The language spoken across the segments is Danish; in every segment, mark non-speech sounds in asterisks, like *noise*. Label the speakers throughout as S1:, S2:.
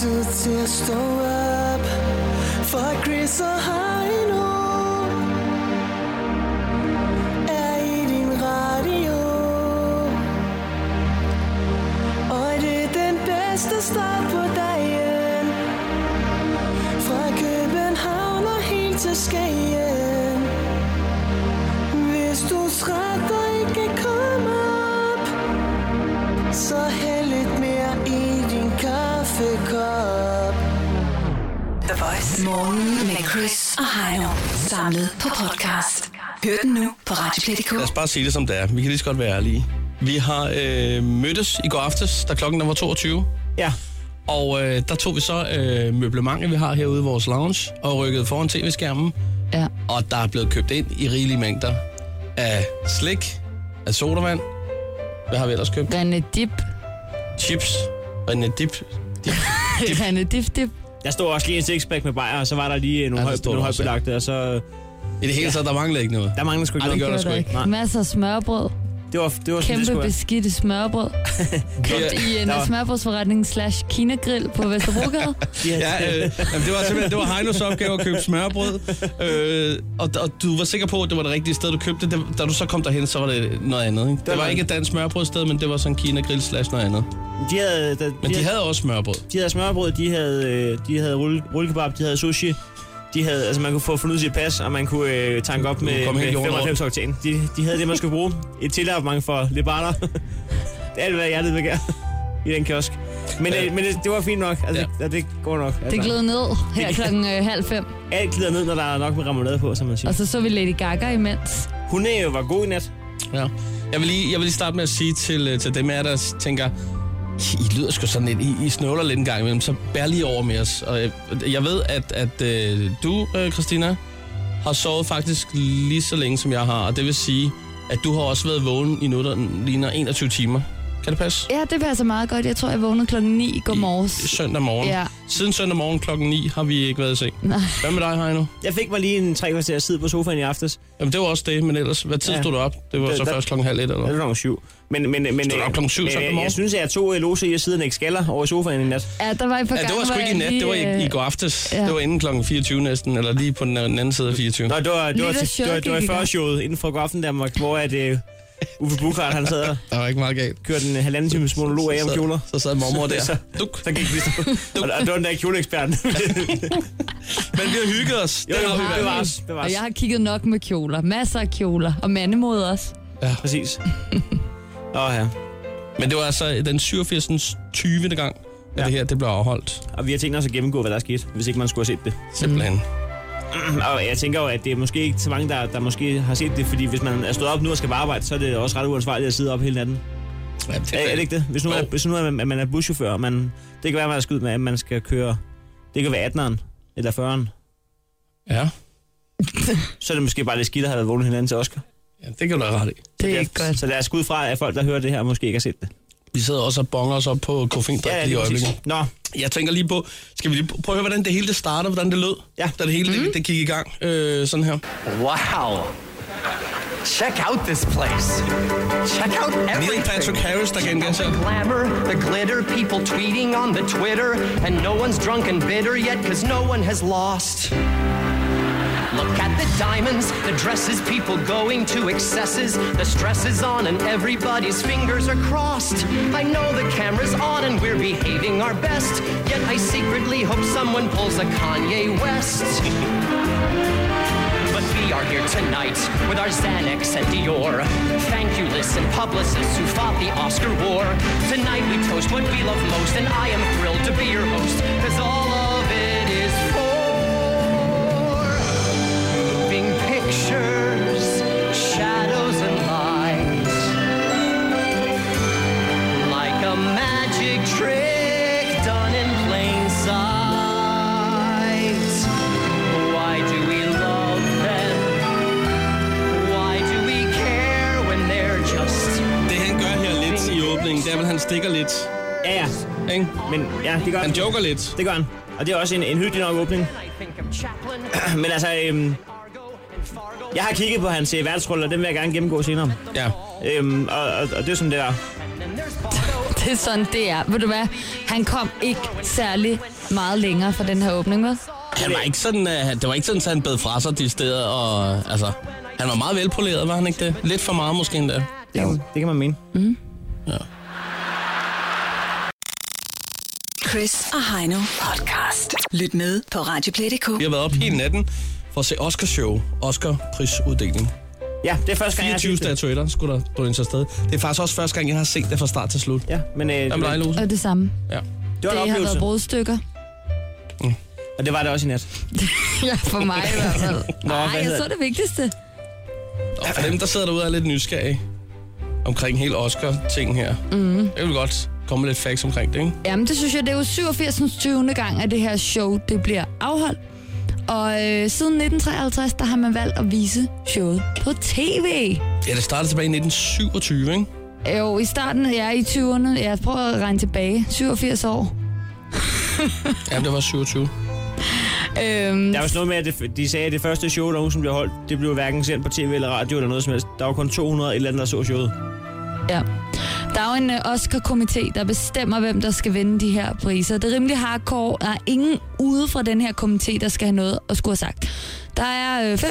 S1: zu zerstå op For Chris og Heino Er i din radio Og det er den bedste start på dagen Fra København og helt til Skagen Hvis du trætter ikke kan komme op Så hæld lidt mere i din kaffekop
S2: The Voice. Morgen med Chris og Heino. Samlet på podcast. Hør den nu på Radioplay.dk.
S3: Lad os bare sige det som det er. Vi kan lige så godt være ærlige. Vi har øh, mødtes i går aftes, da klokken den var 22.
S4: Ja.
S3: Og øh, der tog vi så øh, møblementet, vi har herude i vores lounge, og rykkede foran tv-skærmen.
S5: Ja.
S3: Og der er blevet købt ind i rigelige mængder af slik, af sodavand. Hvad har vi ellers købt?
S5: Renedip.
S3: Chips. Og en dip. dip.
S5: Renedip, dip.
S4: Der stod også lige en sixpack med bajer, og så var der lige
S3: Ja,
S4: nogle ja,
S3: der
S4: højt
S3: stod der også, ja.
S4: højbelagte, og så...
S3: I det hele taget, der mangler ikke noget.
S4: Der mangler sgu ikke
S3: Ej, det
S4: noget.
S3: gør der sgu ikke.
S4: Nej,
S5: Masser af smørbrød.
S4: det var, det var sådan, det
S5: Kæmpe
S4: skulle være.
S5: beskidte smørbrød. Købt i en
S4: Der var-
S5: smørbrødsforretning slash kinagrill på
S3: *laughs*
S5: Vesterbrogade.
S4: De havde-
S3: Ja, øh, jamen, det var simpelthen det var Heinos opgave at købe smørbrød, øh, og, og du var sikker på, at det var det rigtige sted, du købte det. Da du så kom derhen, så var det noget andet. Ikke? Det var
S4: noget
S3: ikke et dansk smørbrødsted, men det var sådan Kina Grill slash noget andet.
S4: De havde, de,
S3: Men de
S4: havde,
S3: havde også smørbrød.
S4: de havde smørbrød, de havde, øh, de havde rulle, rullekebab, de havde sushi. De havde, altså man kunne få fornyet sit pas, og man kunne øh, tanke op
S3: Du kunne
S4: med,
S3: komme helt
S4: med
S3: jorden rundt.
S4: 95 oktan. De, de havde det, man skulle bruge. Et tilabonnement for Libater. det er *laughs* alt, hvad hjertet begær i den kiosk. Men,
S3: Ja.
S4: øh, men det, det, var fint nok. Altså,
S3: Ja.
S4: ja. det, det går nok. Altså,
S5: Det gled ned her
S4: Det-
S5: klokken øh, halv fem.
S4: Alt glider ned, når der er nok med remoulade på, som man siger.
S5: Og så så vi Lady Gaga imens.
S4: Hun er jo var god i nat.
S3: Ja. Jeg, vil lige, jeg vil lige starte med at sige til, øh, til dem af jer, der s- tænker, I lyder sgu sådan lidt, I, I snøvler lidt en gang imellem, så bær lige over med os. Og jeg, jeg ved, at, at øh, du, øh, Christina, har sovet faktisk lige så længe, som jeg har, og det vil sige, at du har også været vågen i noget, der ligner 21 timer. Kan det passe?
S5: Ja, det passer meget godt. Jeg tror, jeg vågnede klokken 9 i går
S3: I-
S5: morges.
S3: Søndag morgen.
S5: Ja,
S3: Siden søndag morgen klokken 9 har vi ikke været i seng.
S5: nej.
S3: Hvad med dig, Heino?
S4: Jeg fik mig lige en tre kvarter at sidde på sofaen i aftes.
S3: Jamen, det var også det, men ellers, hvad tid
S4: Ja.
S3: stod du op? Det var
S4: Det-
S3: så
S4: der-
S3: først klokken halv et, eller?
S4: Det er klokken syv. Men, men, men,
S3: Stod du op klokken syv
S4: men,
S3: søndag
S4: jeg,
S3: morgen?
S4: jeg synes, at jeg tog lose i at sidde og ikke skaller over i sofaen i nat.
S5: Ja, der var et par
S3: Ja,
S5: gange,
S3: det var sgu
S5: hvor
S3: ikke i
S5: jeg
S3: nat, det var i,
S5: lige,
S3: i
S5: øh,
S3: går aftes.
S5: ja.
S3: Det var inden klokken 24 næsten, eller lige på den den anden side af 24.
S4: Nå, det var, det var,
S5: Lidt af
S4: det var, det var
S5: sjovt,
S4: før
S5: ikke?
S4: showet inden for Goffen Danmark, hvor at, uh, Uffe Bukart, han sad og
S3: Der var ikke meget galt.
S4: kørte en halvanden times monolog af om
S3: Så-
S4: kjoler.
S3: Så sad mormor der.
S4: *laughs* Så-
S3: Duk.
S4: Så gik vi så. Og- Og det var den der kjoleeksperten.
S3: Men vi har hygget os.
S4: jo,
S3: Det
S4: jo,
S3: har vi
S4: det
S3: været.
S4: var os. Det var
S5: Og
S4: os.
S5: jeg har kigget nok med kjoler. Masser af kjoler. Og mandemod også.
S4: Præcis. Åh oh, ja.
S3: Men det var altså den 87. 20. gang, at
S4: Ja.
S3: det her det blev afholdt.
S4: Og vi har tænkt os at gennemgå, hvad der er sket, hvis ikke man skulle have set det.
S3: Simpelthen.
S4: *clears throat* Og jeg tænker jo, at det er måske ikke så mange, der, der måske har set det, fordi hvis man er stået op nu og skal på arbejde, så er det også ret uansvarligt at sidde op hele natten.
S3: Ja, det,
S4: Er, er det ikke det? Hvis nu, er,
S3: Jo.
S4: hvis nu er, man, at man er buschauffør, og man, det kan være, at man er skudt med, at man skal køre, det kan være 18'eren eller 40'eren,
S3: Ja.
S4: så er det måske bare lidt skidt at have været vågen hinanden til Oscar.
S3: ja, det kan du have ret i.
S5: Det er ikke
S4: Ja,
S5: godt.
S4: Så lad os gå ud fra, at folk, der hører det her, måske ikke har set det.
S3: Vi sidder også og bonger os op på koffeindrik ja, lige i
S4: præcis.
S3: øjeblikket.
S4: Nå,
S3: Jeg tænker lige på, skal vi lige prøve at høre, hvordan det hele det starter, hvordan det lød,
S4: Ja. Mhm.
S3: da det hele det, det gik i gang, øh, sådan her.
S6: Wow. Check out this place. Check out
S3: Neil
S6: everything.
S3: Patrick Harris, der gengav sig.
S6: Glamour, the glitter, people tweeting on the Twitter, and no one's drunk and bitter yet, cause no one has lost. Look at the diamonds, the dresses, people going to excesses. The stress is on and everybody's fingers are crossed. I know the camera's on and we're behaving our best. Yet I secretly hope someone pulls a Kanye West. but we are here tonight with our Xanax and Dior. Thank you, listen, publicists who fought the Oscar war. Tonight we toast what we love most, and I am thrilled to be your host, cause all of it is for moving pictures, shadows and lights, like a magic trick done in plain sight. Why do we love them? Why do we care when they're just?
S3: Det han gør her lidt i åbningen, det er vel, han stikker lidt.
S4: ja ja.
S3: Ikke?
S4: Men ja, det gør
S3: Han joker lidt.
S4: Det gør han. Og det er også en, en hyggelig nok åbning.
S6: I think of Chaplin, *coughs*
S4: Men altså, øhm,
S6: Argo, and Fargo.
S4: jeg har kigget på hans øh, verdensrulle, og den vil jeg gerne gennemgå senere.
S3: Ja.
S4: Øhm, og, og, og det er sådan, det er.
S6: And then there's Bardo.
S5: Det det er sådan, det er. Ved du hvad? Han kom ikke særlig meget længere fra den her åbning, vel?
S3: Han var ikke sådan, øh, det var ikke sådan, at han bed fra sig de steder, og øh, altså, han var meget velpoleret, var han ikke det? Lidt for meget måske endda.
S4: Det, kan- det kan man mene.
S2: Chris og Heino podcast. Lyt med på Radioplay.dk.
S3: Vi har været op hele natten for at se Oscars show, Oscar-prisuddeling.
S4: Ja, det er første gang, jeg har
S3: 24
S4: set det.
S3: statuetter skulle der drøne sig afsted. Det er faktisk også første gang, jeg har set det fra start til slut.
S4: Ja, men øh,
S3: Jamen, dig,
S4: det,
S3: Lose.
S5: Og det samme.
S3: Ja.
S4: det
S5: Det
S4: var en
S5: har været
S4: oplevelse,
S5: brudstykker.
S4: og det var det også i nat.
S5: Ja, for mig i hvert fald. Nej, jeg
S4: hedder
S5: så det vigtigste.
S3: Og for dem, der sidder derude og er lidt nysgerrige omkring hele Oscar-ting her. Mm. Jeg vil godt komme med lidt facts omkring det, ikke?
S5: Jamen, det synes jeg, det er jo 87. 20. gang, at det her show det bliver afholdt. Og øh, siden 1953, der har man valgt at vise showet på tv.
S3: Ja, det startede tilbage i 1927, ikke?
S5: Jo, i starten, ja, i 20'erne. Jeg prøver at regne tilbage. 87 år.
S3: Jamen, det var 27.
S5: Øhm,
S4: Der var sådan noget med, at det, de sagde, at det første show, der nogensinde blev holdt, det blev hverken sendt på tv eller radio eller noget som helst. Der var kun 200 eller andet, der så showet.
S5: Ja. Der er jo en øh, Oscar-komité, der bestemmer, hvem der skal vinde de her priser. Det er rimelig hardcore. Der er ingen ude fra den her komité, der skal have noget at skulle have sagt. Der er øh, 5.783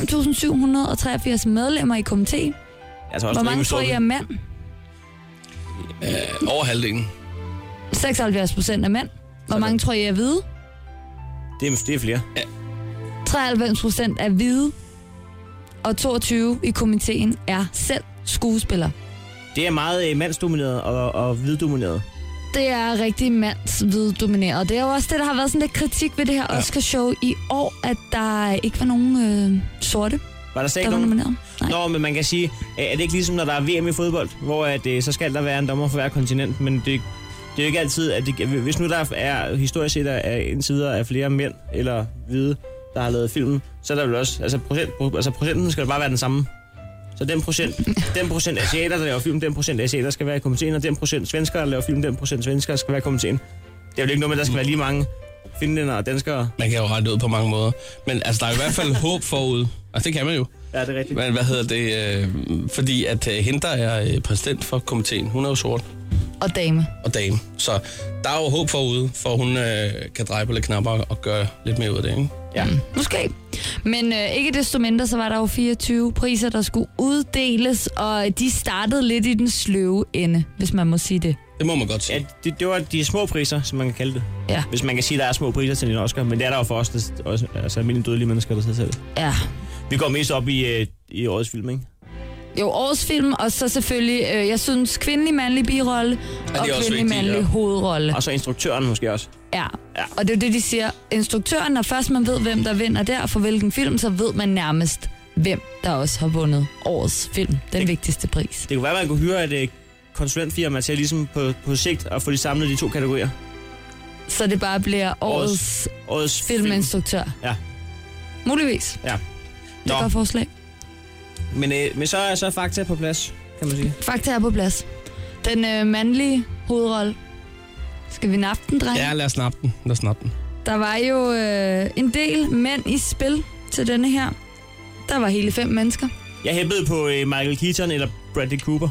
S5: medlemmer i komiteen.
S4: Altså
S5: Hvor
S4: også en
S5: mange
S4: rimelig stor
S5: tror I er
S4: by.
S5: mænd?
S3: Over halvdelen.
S5: 76 procent er mænd. Hvor mange tror I er hvide?
S4: det, er, det er flere.
S5: 93 procent er hvide. Og 22 i komiteen er selv skuespillere.
S4: Det er meget øh, mandsdomineret og, og hviddomineret.
S5: Det er rigtig mandsviddomineret. Det er jo også det, der har været sådan lidt kritik ved det her Oscar-show i år, at der ikke var nogen øh, sorte,
S4: Var der slet
S5: der
S4: ikke
S5: var
S4: nogen?
S5: nomineret. Nej.
S4: Nå, men man kan sige, øh, er det ikke ligesom, når der er VM i fodbold, hvor at, øh, så skal der være en dommer for hver kontinent, men det, det er jo ikke altid, at det, hvis nu der er historisk set er- er indsider af flere mænd eller hvide, der har lavet filmen, så er der vel også, altså, procent, altså procenten skal bare være den samme. Så den procent, den procent asiater, der laver film, den procent asiater skal være i komiteen, og den procent svenskere, der laver film, den procent svenskere skal være i komiteen. Det er vel ikke noget med, at der skal være lige mange finlændere og danskere.
S3: Man kan jo rette ud på mange måder. Men altså, der er i hvert fald håb forud. Altså, det kan man jo.
S4: Ja, det er rigtigt.
S3: Men hvad hedder det? Øh, fordi at øh, hende, der er øh, præsident for komiteen, hun er jo sort
S5: Og dame.
S3: og dame. Så der er jo håb forude, for at hun øh, kan dreje på lidt knapper og gøre lidt mere ud af det, ikke?
S4: Ja.
S5: Måske. Men øh, ikke desto mindre, så var der jo 24 priser, der skulle uddeles, og de startede lidt i den sløve ende, hvis man må sige det.
S3: Det må man godt sige.
S4: Ja, det, det var de små priser, som man kan kalde det.
S5: Ja.
S4: Hvis man kan sige, at der er små priser til en Oscar, men det er der jo for os, der, også, altså almindelige dødelige mennesker, der sidder selv.
S5: Ja.
S4: Vi går mest op i, øh, i årets film, ikke?
S5: Jo, årets film, og så selvfølgelig, øh, jeg synes, kvindelig mandlig birolle og
S3: er også
S5: kvindelig
S3: vigtige,
S5: mandlig
S3: ja.
S5: hovedrolle.
S4: Og så instruktøren måske også.
S5: Ja.
S4: Ja.
S5: ja, og det er jo det, de siger. Instruktøren, når først man ved, hvem der vinder der for hvilken film, så ved man nærmest, hvem der også har vundet årets film. Den
S4: Det-
S5: vigtigste pris.
S4: Det kunne være, at man kunne hyre et øh, konsulentfirma til ligesom på, på sigt at få de samlet de to kategorier.
S5: Så det bare bliver
S4: Årets
S5: årets
S4: Årets film.
S5: filminstruktør.
S4: Ja.
S5: Muligvis.
S4: Ja.
S5: Det er
S4: Nå.
S5: et godt forslag.
S4: Men, øh, men så er så er fakta på plads, kan man sige.
S5: Fakta er på plads. Den øh, mandlige hovedrolle. Skal vi nappe den, dreng?
S3: Ja, lad os snappe den. Lad os snappe den.
S5: Der var jo øh, en del mænd i spil til denne her. Der var hele fem mennesker.
S4: Jeg hæppede på øh, Michael Keaton eller Bradley Cooper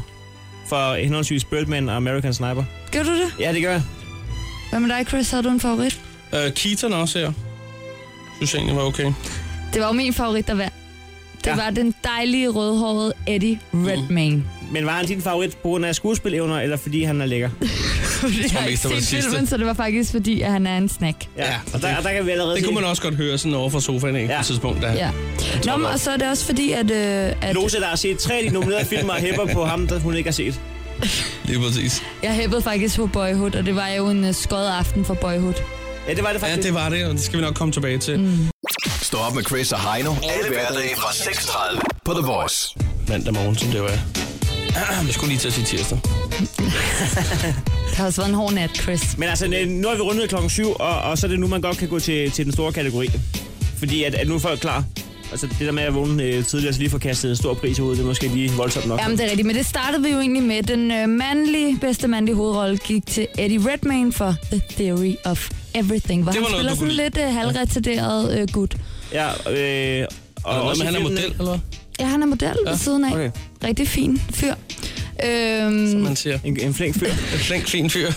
S4: for henholdsvis Birdman og American Sniper.
S5: Gør du det?
S4: Ja, det gør jeg.
S5: Hvad med dig, Chris? Har du en favorit?
S3: Øh, Keaton også her. Synes jeg egentlig var okay.
S5: Det var jo min favorit, der vandt. Det
S4: Ja.
S5: ja. var den dejlige rødhårede Eddie Redmayne. Mm.
S4: Men var han din favorit på grund af skuespilevner, eller fordi han er lækker?
S5: Jeg
S3: tror
S5: har ikke
S3: mest, det var det
S5: set
S3: sidste.
S5: filmen, så det var faktisk fordi, at han er en snack.
S3: Ja,
S4: og der, og der kan vi allerede
S3: Det kunne
S4: se-
S3: man også godt høre sådan over fra sofaen, ikke?
S4: Ja.
S3: På et tidspunkt, der.
S5: Ja. Nå, men, og så er det også fordi, at... Øh, at
S4: Lose, der har set tre af de nominerede film og hæpper på ham, der hun ikke har set.
S3: Lige præcis.
S5: jeg hæppede faktisk på Boyhood, og det var jo en øh, skod aften for Boyhood.
S4: Ja, det var det
S3: Ja,
S4: faktisk.
S3: det var det, og det skal vi nok komme tilbage til. Mm.
S7: Stå op med Chris og Heino. Alle hverdage fra 6.30 på The Voice.
S3: Mandag morgen, som det var. *clears throat* Vi skulle lige til at sige tirsdag.
S5: Det har også været en hård nat, Chris.
S4: Men altså, nu er vi rundet klokken syv, og, og så er det nu, man godt kan gå til, til den store kategori. Fordi at, at nu er folk klar. Altså det der med at vågne øh, tidligere, så lige få kastet en stor pris i hovedet, det er måske lige voldsomt nok.
S5: Jamen, det er rigtigt, men det startede vi jo egentlig med. Den øh, mandlige, bedste mandlige hovedrolle gik til Eddie Redmayne for The Theory of Everything, hvor
S3: Det
S5: han
S3: var noget,
S5: spiller
S3: du kunne
S5: sådan lidt øh, halvretarderet øh, gut.
S4: Ja, øh, og
S3: Og, og
S4: også
S3: han er
S4: filmene-
S3: model, eller hvad?
S5: Ja, han er model ja. ved siden af.
S4: okay.
S5: Rigtig fin fyr. Øhm,
S3: man siger.
S4: En, en flink fyr.
S3: En flink, fin fyr.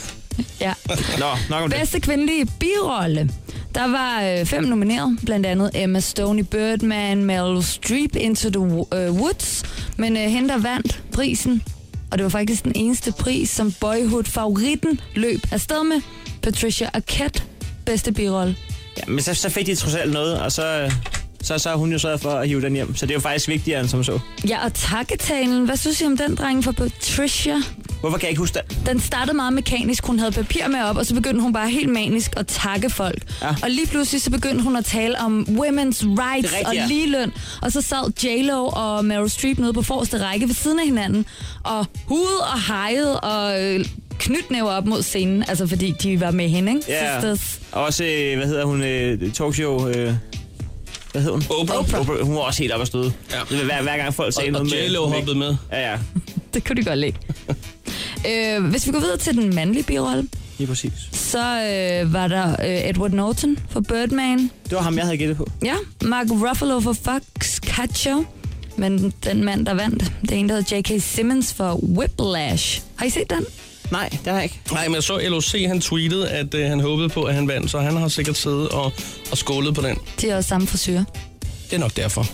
S5: ja.
S4: Nå, nok om det.
S5: Bedste kvindelige birolle. Der var øh, fem nomineret, blandt andet Emma Stone i Birdman, Meryl Streep Into the Wo- øh, Woods, men øh, hende der vandt prisen, og det var faktisk den eneste pris, som Boyhood-favoritten løb afsted med, Patricia Arquette, bedste birolle.
S4: Ja, men så, så fik de trods alt noget, og så, øh, så, så har hun jo sørget for at hive den hjem. Så det er jo faktisk vigtigere end som så.
S5: Ja, og takketalen. Hvad synes I om den dreng fra Patricia?
S4: Hvorfor kan jeg ikke huske det?
S5: Den startede meget mekanisk. Hun havde papir med op, og så begyndte hun bare helt manisk at takke folk.
S4: Ja.
S5: Ja. Og lige pludselig så begyndte hun at tale om women's rights
S4: Det er rigtigt,
S5: og
S4: ja.
S5: ligeløn. Og så sad J-Lo og Meryl Streep nede på forreste række ved siden af hinanden. Og hud og hejede og øh, knytnæver op mod scenen. Altså fordi de var med hende, ikke?
S4: Ja.
S5: Sisters.
S4: Og også, øh, hvad hedder hun, øh, talkshow... Øh, hvad hed hun?
S3: Oprah.
S4: Oprah. Oprah. Hun var også helt op at støde.
S3: Ja.
S4: Ja. Hver, hver gang folk
S3: Og,
S4: sagde
S3: og
S4: noget
S3: J-Lo
S4: med...
S3: hoppede med.
S4: Ja, ja.
S5: Det kunne de godt
S4: *laughs*
S5: lide. øh, hvis vi går videre til den mandlige birolle,
S4: Lige præcis.
S5: så øh, var der øh, Edward Norton fra Birdman.
S4: Det var ham, jeg havde gættet på.
S5: Ja, Mark Ruffalo for Foxcatcher. Men den mand, der vandt, det er en, der hedder J.K. Simmons for Whiplash. Har I set den?
S4: Nej, det har jeg ikke.
S3: Nej, men jeg så LOC, han tweetede, at øh, han håbede på, at han vandt, så han har sikkert siddet og, og skålet på den.
S5: De er også samme frisør.
S3: Det er nok derfor.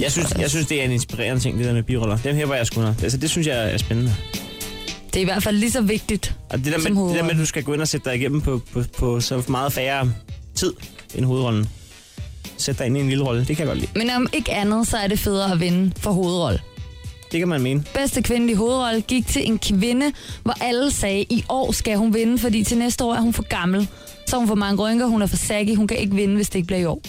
S4: Jeg synes, jeg synes, det er en inspirerende ting, det der med biroller. Dem her var jeg sgu nok. Altså, det synes jeg er spændende.
S5: Det er i hvert fald lige så vigtigt.
S4: Og det
S5: Som
S4: der, med, det der med,
S5: hovedrollen.
S4: at du skal gå ind og sætte dig igennem på, på, på så meget færre tid end hovedrollen. Sæt dig ind i en lille rolle, det kan jeg godt lide.
S5: Men om ikke andet, så er det federe at vinde for hovedrolle.
S4: Det kan man mene.
S5: Bedste kvindelige hovedrolle gik til en kvinde, hvor alle sagde, i år skal hun vinde, fordi til næste år er hun for gammel. Så er hun for mange rynker, hun er for saggy, hun kan ikke vinde, hvis det ikke bliver i år.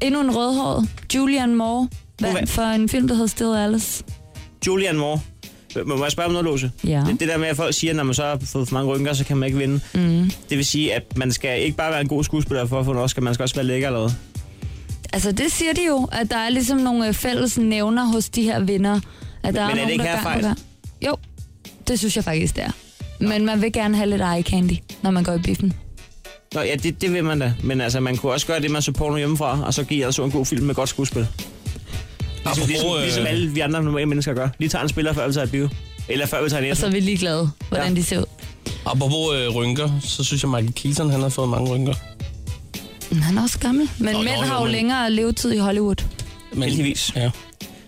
S5: Endnu en rødhåret, Julian Moore,
S4: vandt.
S5: vandt for en film, der hedder Still Alice.
S4: Julian Moore. Må, må jeg spørge om noget, Lose?
S5: Ja.
S4: Det, det der med, at folk siger, at når man så har fået for mange rynker, så kan man ikke vinde. Mm. Det vil sige, at man skal ikke bare være en god skuespiller for at få en Oscar, man skal også være lækker eller hvad.
S5: Altså det siger de jo, at der er ligesom nogle øh, fælles nævner hos de her vinder. At der
S4: Men er det
S5: nogen,
S4: ikke
S5: der gang på
S4: herfejl?
S5: gang- Jo, det synes jeg faktisk, det er. Men man vil gerne have lidt eye candy, når man går i biffen.
S4: Nå, ja, det, det vil man da. Men altså, man kunne også gøre det, man så porno hjemmefra, og så give altså en god film med godt skuespil. Ligesom,
S3: Apropos,
S4: ligesom,
S3: øh,
S4: ligesom alle vi andre normale mennesker gør. Lige tager en spiller, før vi tager et bio. Eller før vi tager en
S5: Og så
S4: altså,
S5: er vi ligeglade, hvordan
S4: Ja.
S5: ja. de ser ud.
S3: Apropos øh, rynker, så synes jeg, Michael Keaton, han har fået mange rynker.
S5: Men han er også gammel. Men
S3: Nå,
S5: Nå, mænd
S3: nå, jo,
S5: har jo
S3: men-
S5: længere levetid i Hollywood.
S3: Men,
S4: Heldigvis.
S3: Ja.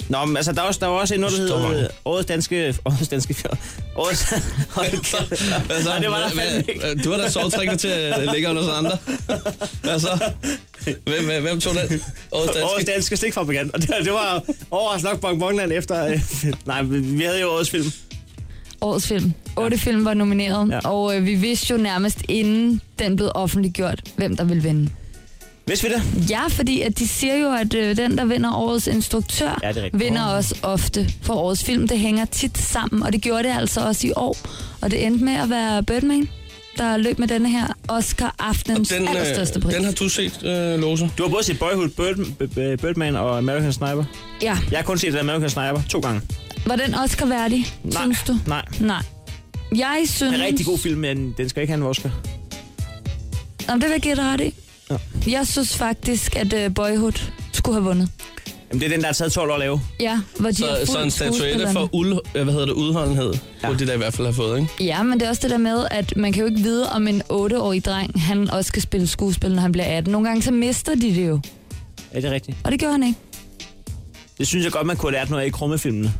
S4: Nå, men altså, der er også, der er også noget, der
S3: Står
S4: hedder
S3: mange.
S4: øh, Årets Danske... Årets Danske... Fjord. Årets...
S3: *laughs*
S4: Hold kæft.
S3: Hvad så?
S4: Nej, det var der fandme
S3: Hvad-
S4: ikke.
S3: Du har da sovetrækker til at ligge under os andre. Hvad så? Hvem, hvem, hvem tog den? Årets
S4: *laughs* Årets
S3: danske.
S4: danske stikfabrikant. Og det, det var overraskende nok Bongbongland efter... Øh, *laughs* nej, vi havde jo årets film.
S5: Årets film. Otte film var nomineret,
S4: Ja.
S5: ja. og øh, vi vidste jo nærmest inden den blev offentliggjort, hvem der ville vinde.
S4: Hvis vi det?
S5: Ja, fordi at de siger jo, at øh, den, der vinder årets instruktør,
S4: Ja, det er rigtigt.
S5: vinder også ofte for årets film. Det hænger tit sammen, og det gjorde det altså også i år. Og det endte med at være Birdman, der løb med denne her Oscar-aftenens
S3: Den,
S5: allerstørste
S3: øh,
S5: pris.
S3: den har du set, øh, Lose.
S4: Du har både set Boyhood, Bird, B- B- Birdman og American Sniper.
S5: Ja,
S4: Jeg har kun set American Sniper to gange.
S5: var den Oscar-værdig,
S4: Nej,
S5: synes du?
S4: nej.
S5: Nej. Jeg synes...
S4: En rigtig god film, men den skal ikke have en Oscar.
S5: Jamen, det vil jeg give dig ret i.
S4: Ja.
S5: Jeg synes faktisk, at øh, Boyhood skulle have vundet.
S4: Jamen, det er den, der har taget 12 år at lave.
S5: Ja, hvor de har
S3: Så, så en
S5: fulgt
S3: statuette
S5: skuespillerne.
S3: for uld, øh, hvad hedder det, udholdenhed, ja. burde de da i hvert fald have fået, ikke?
S5: Ja, men det er også det der med, at man kan jo ikke vide, om en 8-årig dreng, han også skal spille skuespil, når han bliver 18. Nogle gange så mister de det jo,
S4: Er det rigtigt?
S5: og det gjorde han ikke.
S4: Det synes jeg godt, man kunne have lært noget af i krummefilmene.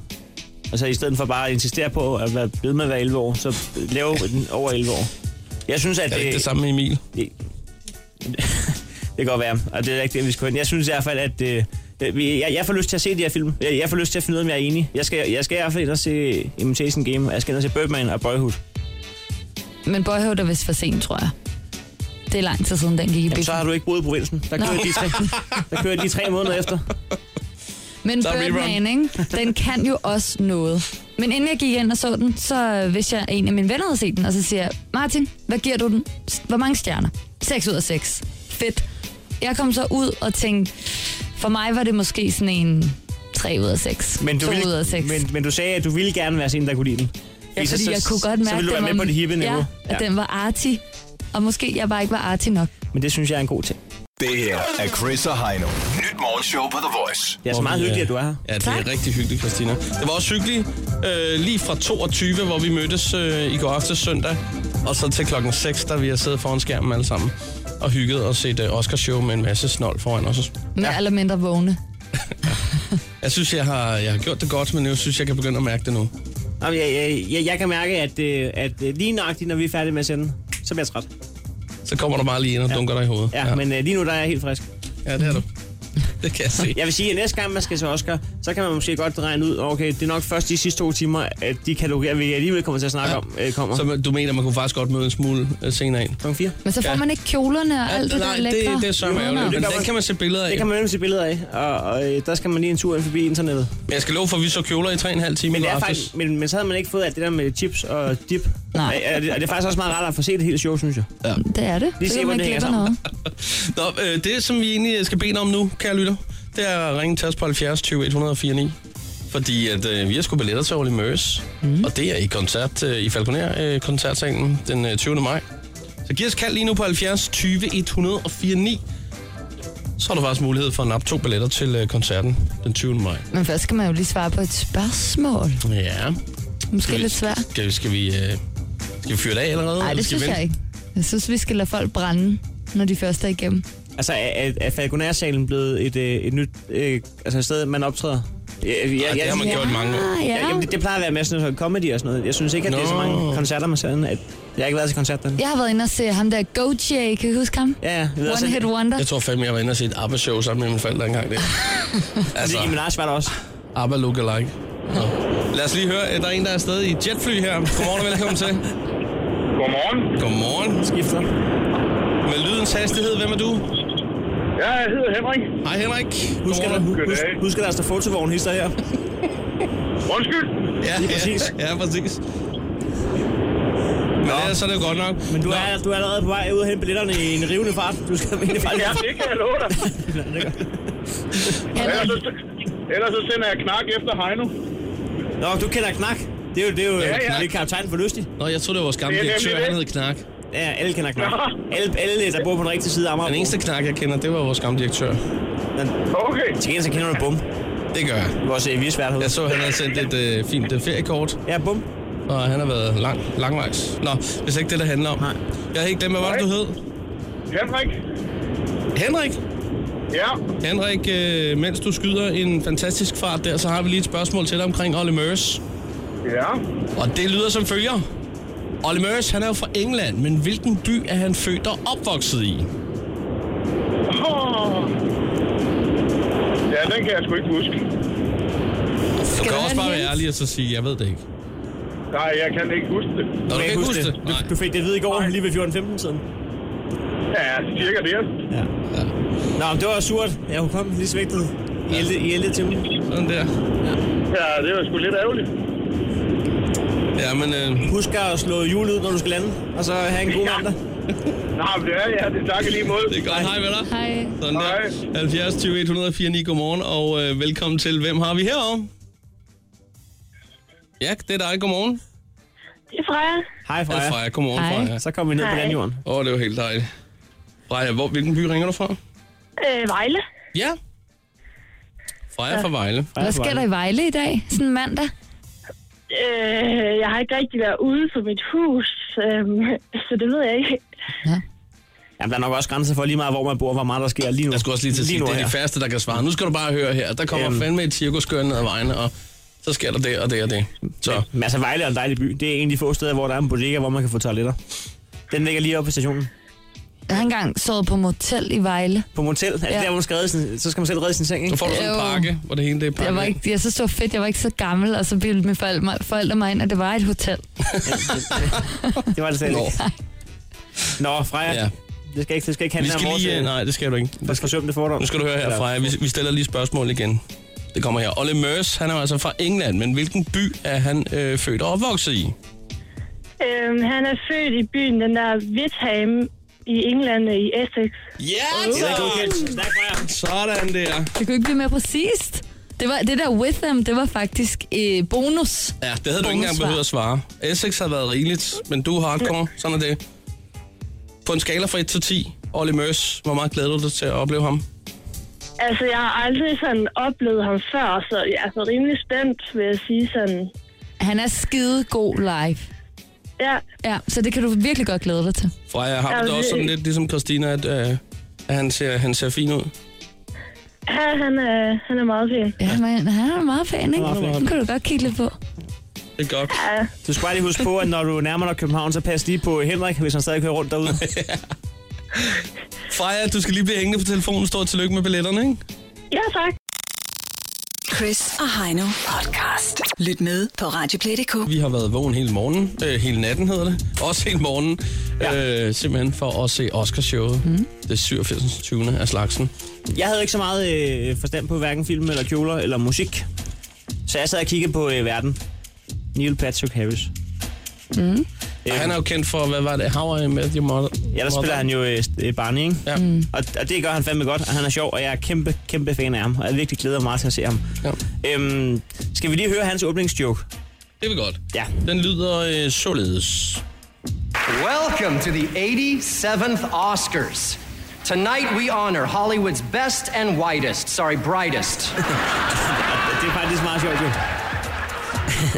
S4: Altså i stedet for bare at insistere på at være ved med at være 11 år, så *laughs* lave den over 11 år. Jeg synes, at
S3: Er det
S4: det,
S3: ikke det samme med Emil?
S4: det kan godt være, og det er ikke det, vi skal hen. Jeg synes i hvert fald, at øh, vi- jeg, jeg får lyst til at se de her film. Jeg, jeg får lyst til at finde ud af, om jeg er enig. Jeg skal, jeg skal i hvert fald ind og se Imitation Game, og jeg skal ind og se Birdman og Boyhood.
S5: Men Boyhood er vist for sent, tror jeg. Det er lang tid siden, den gik i
S4: Jamen, så
S5: biffen.
S4: har du ikke boet i provinsen. Der kører, de tre, der kører de tre måneder efter.
S5: *laughs* Men
S3: så er rerun.
S5: Birdman, ikke? den kan jo også noget. Men inden jeg gik ind og så den, så øh, vidste jeg, at en af mine venner havde set den, og så siger jeg, Martin, hvad giver du den? S- Hvor mange stjerner? 6 ud af 6. Fedt. Jeg kom så ud og tænkte, for mig var det måske sådan en 3 ud af 6.
S4: Men du,
S5: 2 ud af
S4: ville,
S5: 6.
S4: men, men du sagde, at du ville gerne være sådan en, der kunne lide den.
S5: Ja,
S4: Fordi
S5: fordi
S4: så-
S5: jeg
S4: så-
S5: kunne godt
S4: så
S5: mærke,
S4: ville du
S5: den
S4: være med
S5: var-
S4: på det hippe niveau.
S5: Ja,
S4: Ja.
S5: at den var artig. Og måske jeg bare ikke var artig nok.
S4: Men det synes jeg er en god ting.
S7: Det her er Chris og Heino. Nyt morgenshow på The Voice.
S4: Det er så
S3: Hvor
S4: meget
S3: vi,
S4: hyggeligt,
S3: øh,
S4: at du er her.
S3: Ja, det
S5: Tak.
S3: er rigtig hyggeligt, Christina. Det var også hyggeligt øh, lige fra 22, hvor vi mødtes øh, i går aftes søndag, og så til klokken 6, der vi har siddet foran skærmen alle sammen og hygget og set øh, Oscars-show med en masse snold foran os.
S5: Mere eller mindre vågne.
S3: Jeg synes, jeg har, jeg har gjort det godt, men jeg synes, jeg kan begynde at mærke det nu.
S4: Jamen, jeg, jeg, jeg, jeg kan mærke, at, øh, at øh, lige nøjagtigt, når vi er færdige med at sende, så bliver jeg træt.
S3: Så kommer der bare lige ind og dunker dig i hovedet.
S4: Ja, ja. men øh, lige nu der er jeg helt frisk.
S3: ja det er du. Det kan jeg se.
S4: Jeg vil sige, at næste gang, man skal til Oscar, så kan man måske godt regne ud, okay, det er nok først de sidste to timer, at de kalorier, vi alligevel kommer til at snakke
S3: Ja.
S4: ja. om, øh, kommer.
S3: Så
S4: Så...
S3: man- du mener, man kunne faktisk godt møde en smule øh, senere ind?
S4: Klokken 4.
S5: Men så får
S3: Ja.
S5: man ikke kjolerne og alt det, der
S3: nej,
S5: er lækre.
S3: det, det er så ærgerligt, men
S4: Det kan
S3: den
S4: man-
S3: kan man se billeder af.
S4: Det kan man nemlig se billeder af, og, og øh, der skal man lige en tur ind forbi internettet.
S3: Men Jeg skal love for, at vi så kjoler i 3,5 timer i
S4: Men, det
S3: går
S4: er
S3: aftes.
S4: faktisk, men, men så havde man ikke fået alt det der med chips og dip.
S5: Nej.
S4: Og, og, det, og det er faktisk også meget rart at få set det hele show, synes jeg.
S5: Det er det.
S4: Lige
S5: så
S4: se,
S5: kan man
S4: hvordan det hænger
S5: klippe
S4: sammen.
S5: noget.
S3: Nå, øh, det som vi egentlig skal bede dig om nu, kære lytter, det er at ringe til os på 70 20 149. Fordi at, øh, vi har sgu billetter til Ole Møs, mm. og det er i koncert øh, i Falconer øh, koncertsalen den øh, 20. maj. Så giv os kald lige nu på 70 20 149. Så har du faktisk mulighed for at nappe to billetter til øh, koncerten den 20. maj.
S5: Men først skal man jo lige svare på et spørgsmål.
S3: Ja.
S5: Måske lidt svært.
S3: Skal, vi- skal vi... Øh, skal vi fyre det af allerede?
S5: Nej,
S3: eller
S5: det
S3: skal
S5: synes
S3: vi vente?
S5: jeg ikke. Jeg synes, vi skal lade folk brænde, når de først er igennem.
S4: Altså, er, er, er Falconer-salen blevet et, øh, et nyt øh, altså et sted, man optræder? Ja, ja,
S3: Ej, det har man gjort i mange år.
S5: Ah,
S4: ja,
S5: ja.
S4: jamen, det, det plejer at være med sådan noget comedy og sådan noget. Jeg synes ikke, at det er så
S3: Nå.
S4: mange koncerter, man ser den, at Jeg har ikke været til koncert den.
S5: Jeg har været inde og se ham der Gojek, kan I huske ham?
S4: Ja, ja. Jeg ved også,
S5: One
S4: at-
S5: Hit Wonder.
S3: Jeg tror fandme, jeg var inde og se et ABBA-show sammen med mine forældre
S5: *laughs*
S3: engang. Det. altså,
S4: Nicki Minaj var der også.
S3: ABBA lookalike. Nå. Lad os lige høre, at der er en, der er afsted i et jetfly her. Godmorgen og velkommen til.
S8: Godmorgen.
S3: Godmorgen.
S4: Skifter.
S3: Med lydens hastighed, hvem er du?
S8: Ja, jeg hedder Henrik.
S3: Hej Henrik.
S4: Husk, at der,
S3: Godmorgen.
S4: husk,
S8: Goddag.
S4: husk, at der står fotovogn hister her.
S8: Undskyld.
S3: Ja,
S4: lige præcis.
S3: Ja, ja, præcis. Men ellers så er det jo godt nok.
S4: Men du
S3: Nå,
S4: er, du er allerede på vej ud og hente billetterne i en rivende fart.
S3: *laughs*
S4: Du skal vinde fart.
S8: Ja, det kan jeg love dig. Ellers så, ellers så sender jeg knak efter Heino.
S4: Nå, du kender Knak. Det er jo, det er jo ja,
S8: ja.
S4: ja. Det er kaptajn for lystig.
S3: Nå, jeg troede, det var vores gamle
S8: Det er
S3: direktør,
S8: nemlig
S3: han hed
S8: det.
S3: Knak.
S4: Ja, alle kender Knak.
S8: Nå.
S4: Alle, alle, der bor på den rigtige side af Amager.
S3: Den eneste Knak, jeg kender, det var vores gamle direktør.
S8: Okay.
S4: Til gengæld så kender du Bum.
S3: Det gør jeg.
S4: Vores øh, virksvært
S3: Jeg så, han havde sendt et øh, fint øh, feriekort,
S4: Ja, Bum.
S3: og han har været lang, langvejs. Nå, hvis ikke det, der handler om.
S4: Nej.
S3: Jeg har ikke glemt, hvad var det, du hed?
S8: Henrik.
S3: Henrik.
S8: Ja.
S3: Henrik, øh, mens du skyder en fantastisk fart der, så har vi lige et spørgsmål til dig omkring Ole Mørs.
S8: Ja.
S3: Og det lyder som følger. Ole Mørs, han er jo fra England, men hvilken by er han født og opvokset i?
S8: Åh. Ja, den kan jeg sgu ikke huske.
S3: Du
S5: du
S3: kan
S5: have
S3: også
S5: en
S3: bare være
S5: hint?
S3: ærlig og så sige, jeg ved det ikke. Nå,
S8: Nej, jeg kan ikke huske det.
S3: du kan ikke huske det.
S4: Du,
S3: Nej.
S4: du fik det at vide i går, lige ved 14-15-tiden.
S8: Ja, cirka det.
S4: Ja.
S3: Ja.
S4: Nå, men det var surt. Jeg kunne komme lige svigtet. I ældre, i ældre til mig.
S3: Sådan der.
S8: Ja, det var sgu lidt ærgerligt.
S3: Ja, men øh,
S4: Husk at slå hjulet ud, når du skal lande. Og så have en god
S8: Ja.
S4: mandag.
S8: Nej, men det er ja, det takker lige mod.
S3: det er godt. Hej med dig.
S5: Hej.
S3: Sådan der.
S8: Hej.
S3: 70 20 104 9, godmorgen, og øh, velkommen til. Hvem har vi herovre? Ja, det er dig. Godmorgen.
S9: Det er Freja.
S4: Hej,
S3: Ja,
S4: Freja.
S3: Freja. Godmorgen,
S5: Hej.
S3: Freja.
S4: Så kommer vi ned på
S9: Hej.
S4: landjorden.
S3: Åh, det var helt dejligt. Freja, hvor, hvilken by ringer du fra?
S9: Øh, Vejle.
S3: Ja. Freja fra Vejle.
S4: Freja
S5: Hvad sker
S4: fra
S5: der
S4: Vejle.
S5: i Vejle i dag? Sådan mandag?
S9: Øh, jeg har ikke rigtig været ude for mit hus, øh, så det ved jeg ikke.
S4: Jamen, der er nok også grænser for lige meget, hvor man bor, hvor meget der sker lige nu.
S3: Jeg skulle også lige til at sige,
S4: nu
S3: det er de
S4: her.
S3: færreste, der kan svare. Nu skal du bare høre her. Der kommer
S4: Øhm.
S3: fandme et cirkuskørende ned ad vejen, og så sker der det og det og det. Så
S4: Men altså, Vejle er en dejlig by. Det er en af de få steder, hvor der er en bodega, hvor man kan få toiletter. Den ligger lige oppe på stationen.
S5: Jeg har engang sovet på motel i Vejle.
S4: På motel, altså
S5: Ja.
S4: ja. der, hvor man skal redde sin, så skal man selv redde sin seng,
S3: nu
S4: ikke?
S3: får du sådan en
S5: Jo.
S3: pakke, hvor det hele det er
S5: Jeg var
S3: pakket.
S5: ikke, jeg synes, det var fedt. Jeg var ikke så gammel, og så bildte mine forældre mig, forældre mig ind, at det var et hotel.
S4: Det var det selv
S3: Nå.
S4: ikke. Nå, Freja,
S3: Ja.
S4: ja. det skal ikke, det skal ikke
S3: Vi
S4: handle
S3: skal
S4: om vores,
S3: lige...
S4: øh,
S3: Nej, det skal du ikke.
S4: vores forsømte fordom.
S3: Nu skal du høre her,
S4: Eller-
S3: Freja. Vi, vi stiller lige spørgsmål igen. Det kommer her. Olle Mørs, han er jo altså fra England, men hvilken by er han øh, født og opvokset i?
S9: Øh, han er født i byen, den der Witham i England øh, i Essex.
S3: Ja,
S4: Det er godkendt. Stærk, Freja.
S3: Sådan der.
S5: Det kunne ikke blive mere præcist. Det, var, det der with them, det var faktisk øh, bonus.
S3: Ja, det havde du ikke engang
S5: Bonussvar.
S3: behøvet at svare. Essex har været rigeligt, men du er hardcore. Sådan er det. På en skala fra 1 til 10, Olly Møs, hvor meget glæder du dig til at opleve ham?
S9: Altså, jeg har aldrig sådan oplevet ham før, så jeg er så rimelig spændt, vil jeg sige sådan.
S5: Han er skide god live.
S9: Ja,
S5: Ja, så det kan du virkelig godt glæde dig til.
S3: Freja, har du det
S9: Ja,
S3: også sådan
S9: det-
S3: lidt ligesom Christina, at, øh, at han, ser, han ser fin ud?
S9: ja han, er, han er meget fin.
S5: Ja, men han er meget fan, ikke?
S4: Han er meget fan.
S5: Den kan du godt kigge lidt på.
S3: Det er godt.
S4: Du skal bare lige huske på, at når du nærmer dig København, så pas lige på Henrik, hvis han stadig kører
S3: *laughs*
S4: rundt derude.
S3: Freja, du skal lige blive hængende på telefonen. Stort tillykke med billetterne, ikke?
S9: Ja, tak.
S2: Chris og Heino podcast. Lyt med på Radioplay.dk.
S3: Vi har været vågen hele morgenen. Øh, hele natten hedder det. Også hele morgenen. Ja. Øh, simpelthen for at se Oscarshowet. Mm. Det 87. 20. af slagsen.
S4: Jeg havde ikke så meget øh, forstand på hverken film eller kjoler eller musik. Så jeg sad og kiggede på øh, verden. Neil Patrick Harris. Øh,
S3: Og han er jo kendt for, hvad var det? How I Met Your Mother.
S4: Ja, der spiller han jo øh, øh, Barney, ikke?
S3: Ja. Mm.
S4: Og, og det gør han fandme godt, og han er sjov, og jeg er kæmpe, kæmpe fan af ham. Og jeg virkelig glæder mig meget til at se ham.
S3: ja.
S4: Øhm, skal vi lige høre hans åbningsjoke?
S3: Det er vi godt.
S4: Ja.
S3: Den lyder øh, således.
S6: Welcome to the 87th Oscars. Tonight we honor Hollywood's best and whitest, sorry, brightest.
S4: Det er faktisk meget sjovt, jo.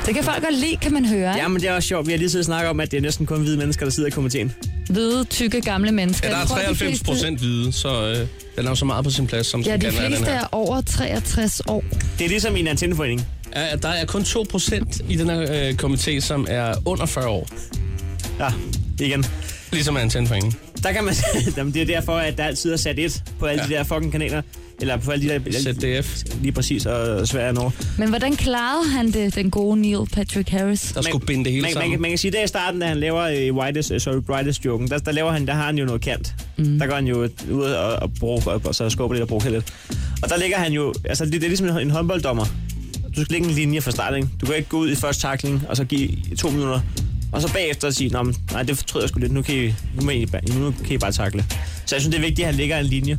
S5: Det kan folk godt lide, kan man høre. Ja.
S4: Ja, men det er også sjovt. Vi har lige siddet og snakket om, at det er næsten kun hvide mennesker, der sidder i komiteen.
S5: Hvide, tykke, gamle mennesker.
S3: Ja, der er
S5: Jeg tror, de
S3: 93
S5: fleste-
S3: procent hvide, så øh, den er jo så meget på sin plads, som
S5: Ja,
S3: den
S5: de
S3: kan være, den
S5: fleste
S3: her.
S5: er over 63 år.
S4: Det er ligesom i en antenneforening.
S3: Ja, der er kun 2% i den her øh, komité, som er under 40 år.
S4: Ja, igen.
S3: Ligesom er en tændforening.
S4: Der kan man *laughs* Jamen, det er derfor, at der altid er sat et på alle ja. de der fucking kanaler. Eller på alle de der...
S3: ZDF.
S4: Lige præcis, og Sverige og Norge.
S5: Men hvordan klarede han det, den gode Neil Patrick Harris?
S3: Der skulle binde det hele
S4: man,
S3: sammen.
S4: Man, man kan sige, at i starten, da han laver øh, whitest, øh, sorry, brightest joken, der, der, laver han, der har han jo noget kant. Mm. Der går han jo ud og, og, bruger, og, og så skubber lidt og bruger lidt. Og der ligger han jo, altså det, det er ligesom en, en håndbolddommer. Du skal lægge en linje fra start, ikke? Du kan ikke gå ud i første takling og så give to minutter. Og så bagefter sige, Nå, men, nej, det fortryder jeg sgu lidt, nu kan, I, nu, må I, bare- nu kan I bare takle. Så jeg synes, det er vigtigt, at han lægger en linje.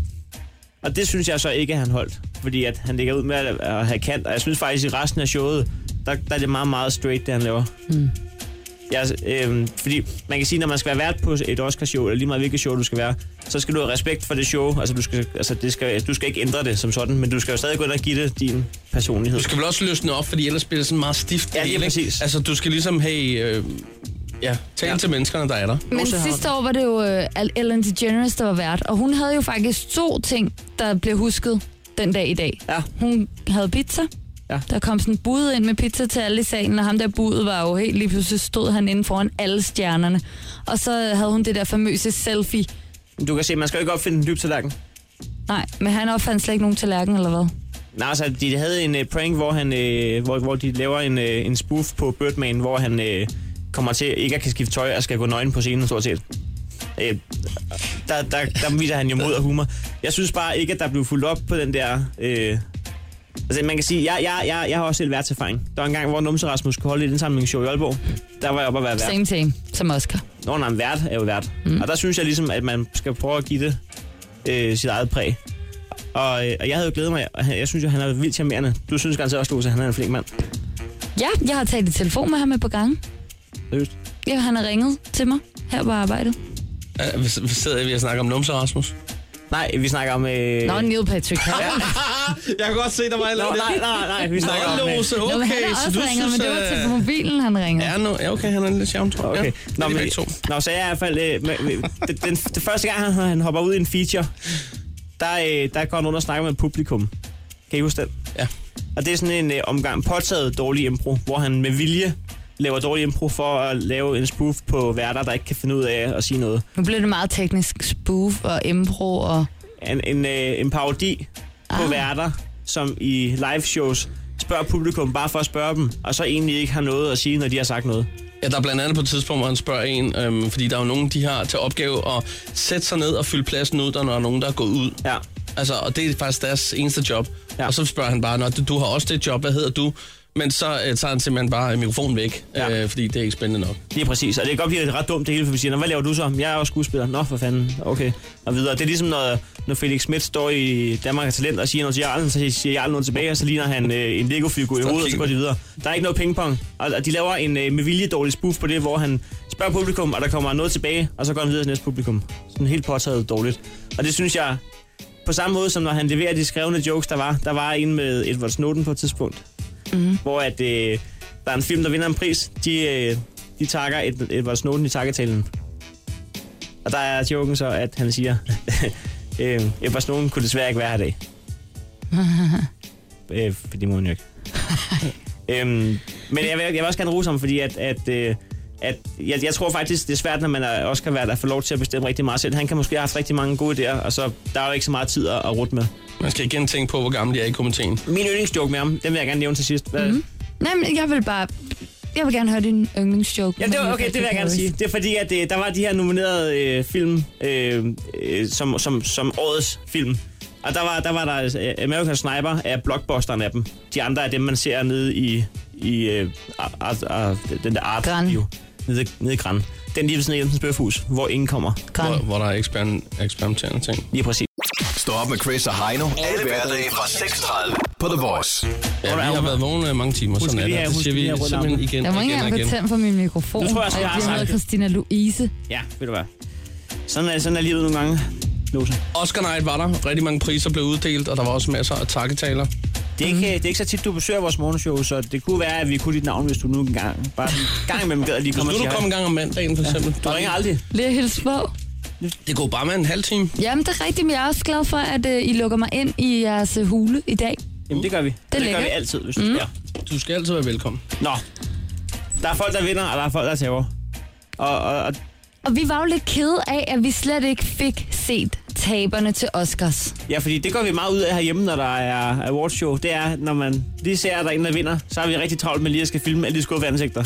S4: Og det synes jeg så ikke, at han holdt. Fordi at han ligger ud med at, at have kant. Og jeg synes faktisk, at i resten af showet, der, der er det meget, meget straight, det han laver. Ja, altså, øhm, fordi man kan sige, når man skal være vært på et Oscar-show, eller lige meget hvilket show du skal være, så skal du have respekt for det show. Altså, du skal, altså det skal, du skal ikke ændre det som sådan, men du skal jo stadig gå ind og give det din personlighed.
S3: Du skal vel også løsne op, fordi ellers bliver det sådan meget stift.
S4: Ja,
S3: det
S4: lige
S3: hele, ikke?
S4: præcis.
S3: Altså, du skal ligesom have... Øh, ja, tale ja.
S4: Ja.
S3: til menneskerne, der er der.
S5: Men
S4: Også har-
S5: sidste år var det jo øh, Al- Ellen DeGeneres, der var vært, og hun havde jo faktisk to ting, der blev husket den dag i dag.
S4: Ja.
S5: Hun havde pizza.
S4: Ja.
S5: Der kom sådan en bud ind med pizza til alle i salen, og ham der budet var jo helt lige pludselig stod han inde foran alle stjernerne. Og så havde hun det der famøse selfie.
S4: Du kan se, man skal jo ikke opfinde en dyb tallerken.
S5: Nej, men han opfandt slet ikke nogen tallerken, eller hvad?
S4: Nej, altså, de havde en uh, prank, hvor, han, uh, hvor, hvor de laver en, uh, en spoof på Birdman, hvor han uh, kommer til ikke at kan skifte tøj og skal gå nøgen på scenen, stort set. Øh, der, der, der viser han jo mod og humor. Jeg synes bare ikke, at der blev fuldt op på den der... Øh, altså, man kan sige, jeg, jeg, jeg, jeg har også selv været til erfaring. Der var en gang, hvor Numse Rasmus kunne holde et indsamlingsshow i Aalborg. Der var jeg oppe at være vært.
S5: Same thing, som Oscar.
S4: Nå, nej, vært er jo vært. Mm. Og der synes jeg ligesom, at man skal prøve at give det øh, sit eget præg. Og, øh, og jeg havde jo glædet mig, og han- jeg synes jo, han er vildt charmerende. Du synes ganske også, Lose, at han er en flink mand.
S5: Ja, jeg har talt i telefon med ham et par gange.
S4: Seriøst?
S5: Ja, han har ringet til mig her på arbejdet.
S3: Ja, vi vi sidder vi og snakker om numse, Rasmus.
S4: Nej, vi snakker om... Øh...
S5: Nå, Neil Patrick Harris.
S3: Jeg kan godt se, der var et
S4: Nå,
S3: eller
S4: nej, nej, nej, vi snakker om...
S3: Nå,
S4: Øh...
S3: Lose,
S5: Nå, men han
S3: okay,
S5: har
S3: så
S5: også
S3: du
S5: ringer,
S3: synes...
S5: men det var til
S3: øh,
S5: mobilen, han ringer.
S3: Ja, nu, ja, okay, han er lidt sjovt, tror jeg. Ja,
S4: Okay. Nå,
S3: det er
S4: men,
S3: begge to.
S4: nå, så jeg er i hvert fald... Øh, med, med, den, den, det første gang, han, han hopper ud i en feature, der, øh, der går han under og snakker med publikum. Kan I huske den?
S3: Ja.
S4: Og det er sådan en øh, omgang påtaget dårlig impro, hvor han med vilje laver dårlig impro for at lave en spoof på værter, der ikke kan finde ud af at sige noget.
S5: Nu blev det meget teknisk spoof og impro og...
S4: En, en, øh, en parodi på værter, som i live shows spørger publikum bare for at spørge dem, og så egentlig ikke har noget at sige, når de har sagt noget.
S3: Ja, der er blandt andet på et tidspunkt, hvor han spørger en, øhm, fordi der er jo nogen, de har til opgave at sætte sig ned og fylde pladsen ud, når der er nogen, der er gået ud.
S4: Ja.
S3: Altså, og det er faktisk deres eneste job. Ja.
S4: Ja.
S3: Og så spørger han bare, Nå, du, du har også det job, hvad hedder du? men så øh, tager han simpelthen bare øh, mikrofonen væk,
S4: Ja.
S3: ja. øh, fordi det er ikke spændende nok.
S4: Lige præcis, og det kan godt blive ret dumt det hele, for vi siger, "Nå, hvad laver du så? Jeg er også skuespiller. Nå, for fanden. Okay. Og videre. Det er ligesom, når, når Felix Schmidt står i Danmark og Talent og siger noget til Jarlen, så siger Jarlen noget tilbage, og så ligner han øh, en Lego-figur i hovedet, og så går de videre. Der er ikke noget pingpong. Og, og de laver en øh, med vilje dårlig spoof på det, hvor han spørger publikum, og der kommer noget tilbage, og så går han videre til næste publikum. Sådan helt påtaget dårligt. Og det synes jeg, på samme måde som når han leverer de skrevne jokes, der var. Der var en med Edward Snowden på et tidspunkt, mm. hvor at, øh, der er en film, der vinder en pris. De, øh, de takker Ed- Edward Snowden i takketalen. Og der er joken så, at han siger, *laughs* øh, Edward Snowden kunne desværre ikke være her i dag. øh, for det må han jo ikke. øhm, men jeg vil, jeg vil også gerne rose ham, fordi at, at, øh, at jeg, jeg tror faktisk, det er svært, når man er også kan være der får lov til at bestemme rigtig meget selv. Han kan måske have haft rigtig mange gode idéer, og så der er jo ikke så meget tid at, at rute med.
S3: Man skal igen tænke på, hvor gammel jeg er i komiteen.
S4: Min yndlingsjoke med ham, den vil jeg gerne nævne til sidst. Hvad, mm.
S5: Nej, men jeg vil bare... Jeg vil gerne høre din yndlingsjoke.
S4: Ja, det var, okay, det vil jeg gerne sige. Det er fordi, at øh, der var de her nominerede øh, film, øh, øh, som, som, som årets film. Og der var der, var der øh, American Sniper er blockbusteren af dem. De andre er dem, man ser nede i, i øh, art, art, den der art
S5: Gran.
S4: bio. Nede, nede i Gran. Den lige ved siden af Jensens Bøfhus, hvor ingen kommer.
S5: Gran.
S3: Hvor, hvor der er eksper- eksperimenterende ting.
S4: Lige præcis.
S7: Stå op med Chris og Heino. Alle hverdage fra 6.30 på The Voice.
S3: Ja, vi har været vågne øh, mange timer,
S4: Husk
S3: sådan er
S4: lige
S3: det.
S4: at-
S3: Det
S4: husk
S3: siger
S4: lige at
S3: vi
S4: rydde
S3: simpelthen
S4: armen.
S3: igen
S5: Jeg må
S3: og
S5: ikke
S3: igen og
S5: engang
S3: igen.
S5: betænde for min mikrofon.
S4: Nu tror jeg også,
S5: og
S4: jeg
S5: jeg
S4: har
S5: bliver
S4: sagt
S5: med
S4: det.
S5: Christina Louise.
S4: Ja, ved du hvad. Sådan er, sådan er livet nogle gange. Lose.
S3: Oscar Night var der. Rigtig mange priser blev uddelt, og der var også masser af takketaler. Mhm.
S4: Det er, ikke, det er ikke så tit, du besøger vores morgenshow, så det kunne være, at vi kunne dit navn, hvis du nu en gang, bare en gang imellem gad lige
S3: Hvis
S4: komme og
S3: nu
S4: sige
S3: du kom en gang om mandagen, for eksempel.
S4: hej. Du ringer aldrig.
S5: Lige at hilse på.
S3: Det går bare med en halv time.
S5: Jamen, det er rigtigt, men jeg er også glad for, at øh, I lukker mig ind i jeres øh, hule i dag.
S4: Jamen, det gør vi. Det, det gør
S5: lækkert.
S4: vi altid, hvis du mm. spørger.
S3: Du skal altid være velkommen. *laughs*
S4: Nå. Der er folk, der vinder, og der er folk, der tager. Og, og, og
S5: Og vi var jo lidt kede af, at vi slet ikke fik set taberne til Oscars.
S4: ja, fordi det går vi meget ud af herhjemme, når der er awardshow. Det er, når man lige ser, at der er en, der vinder, så er vi rigtig travlt med lige at skal filme alle de skuffe ansigter.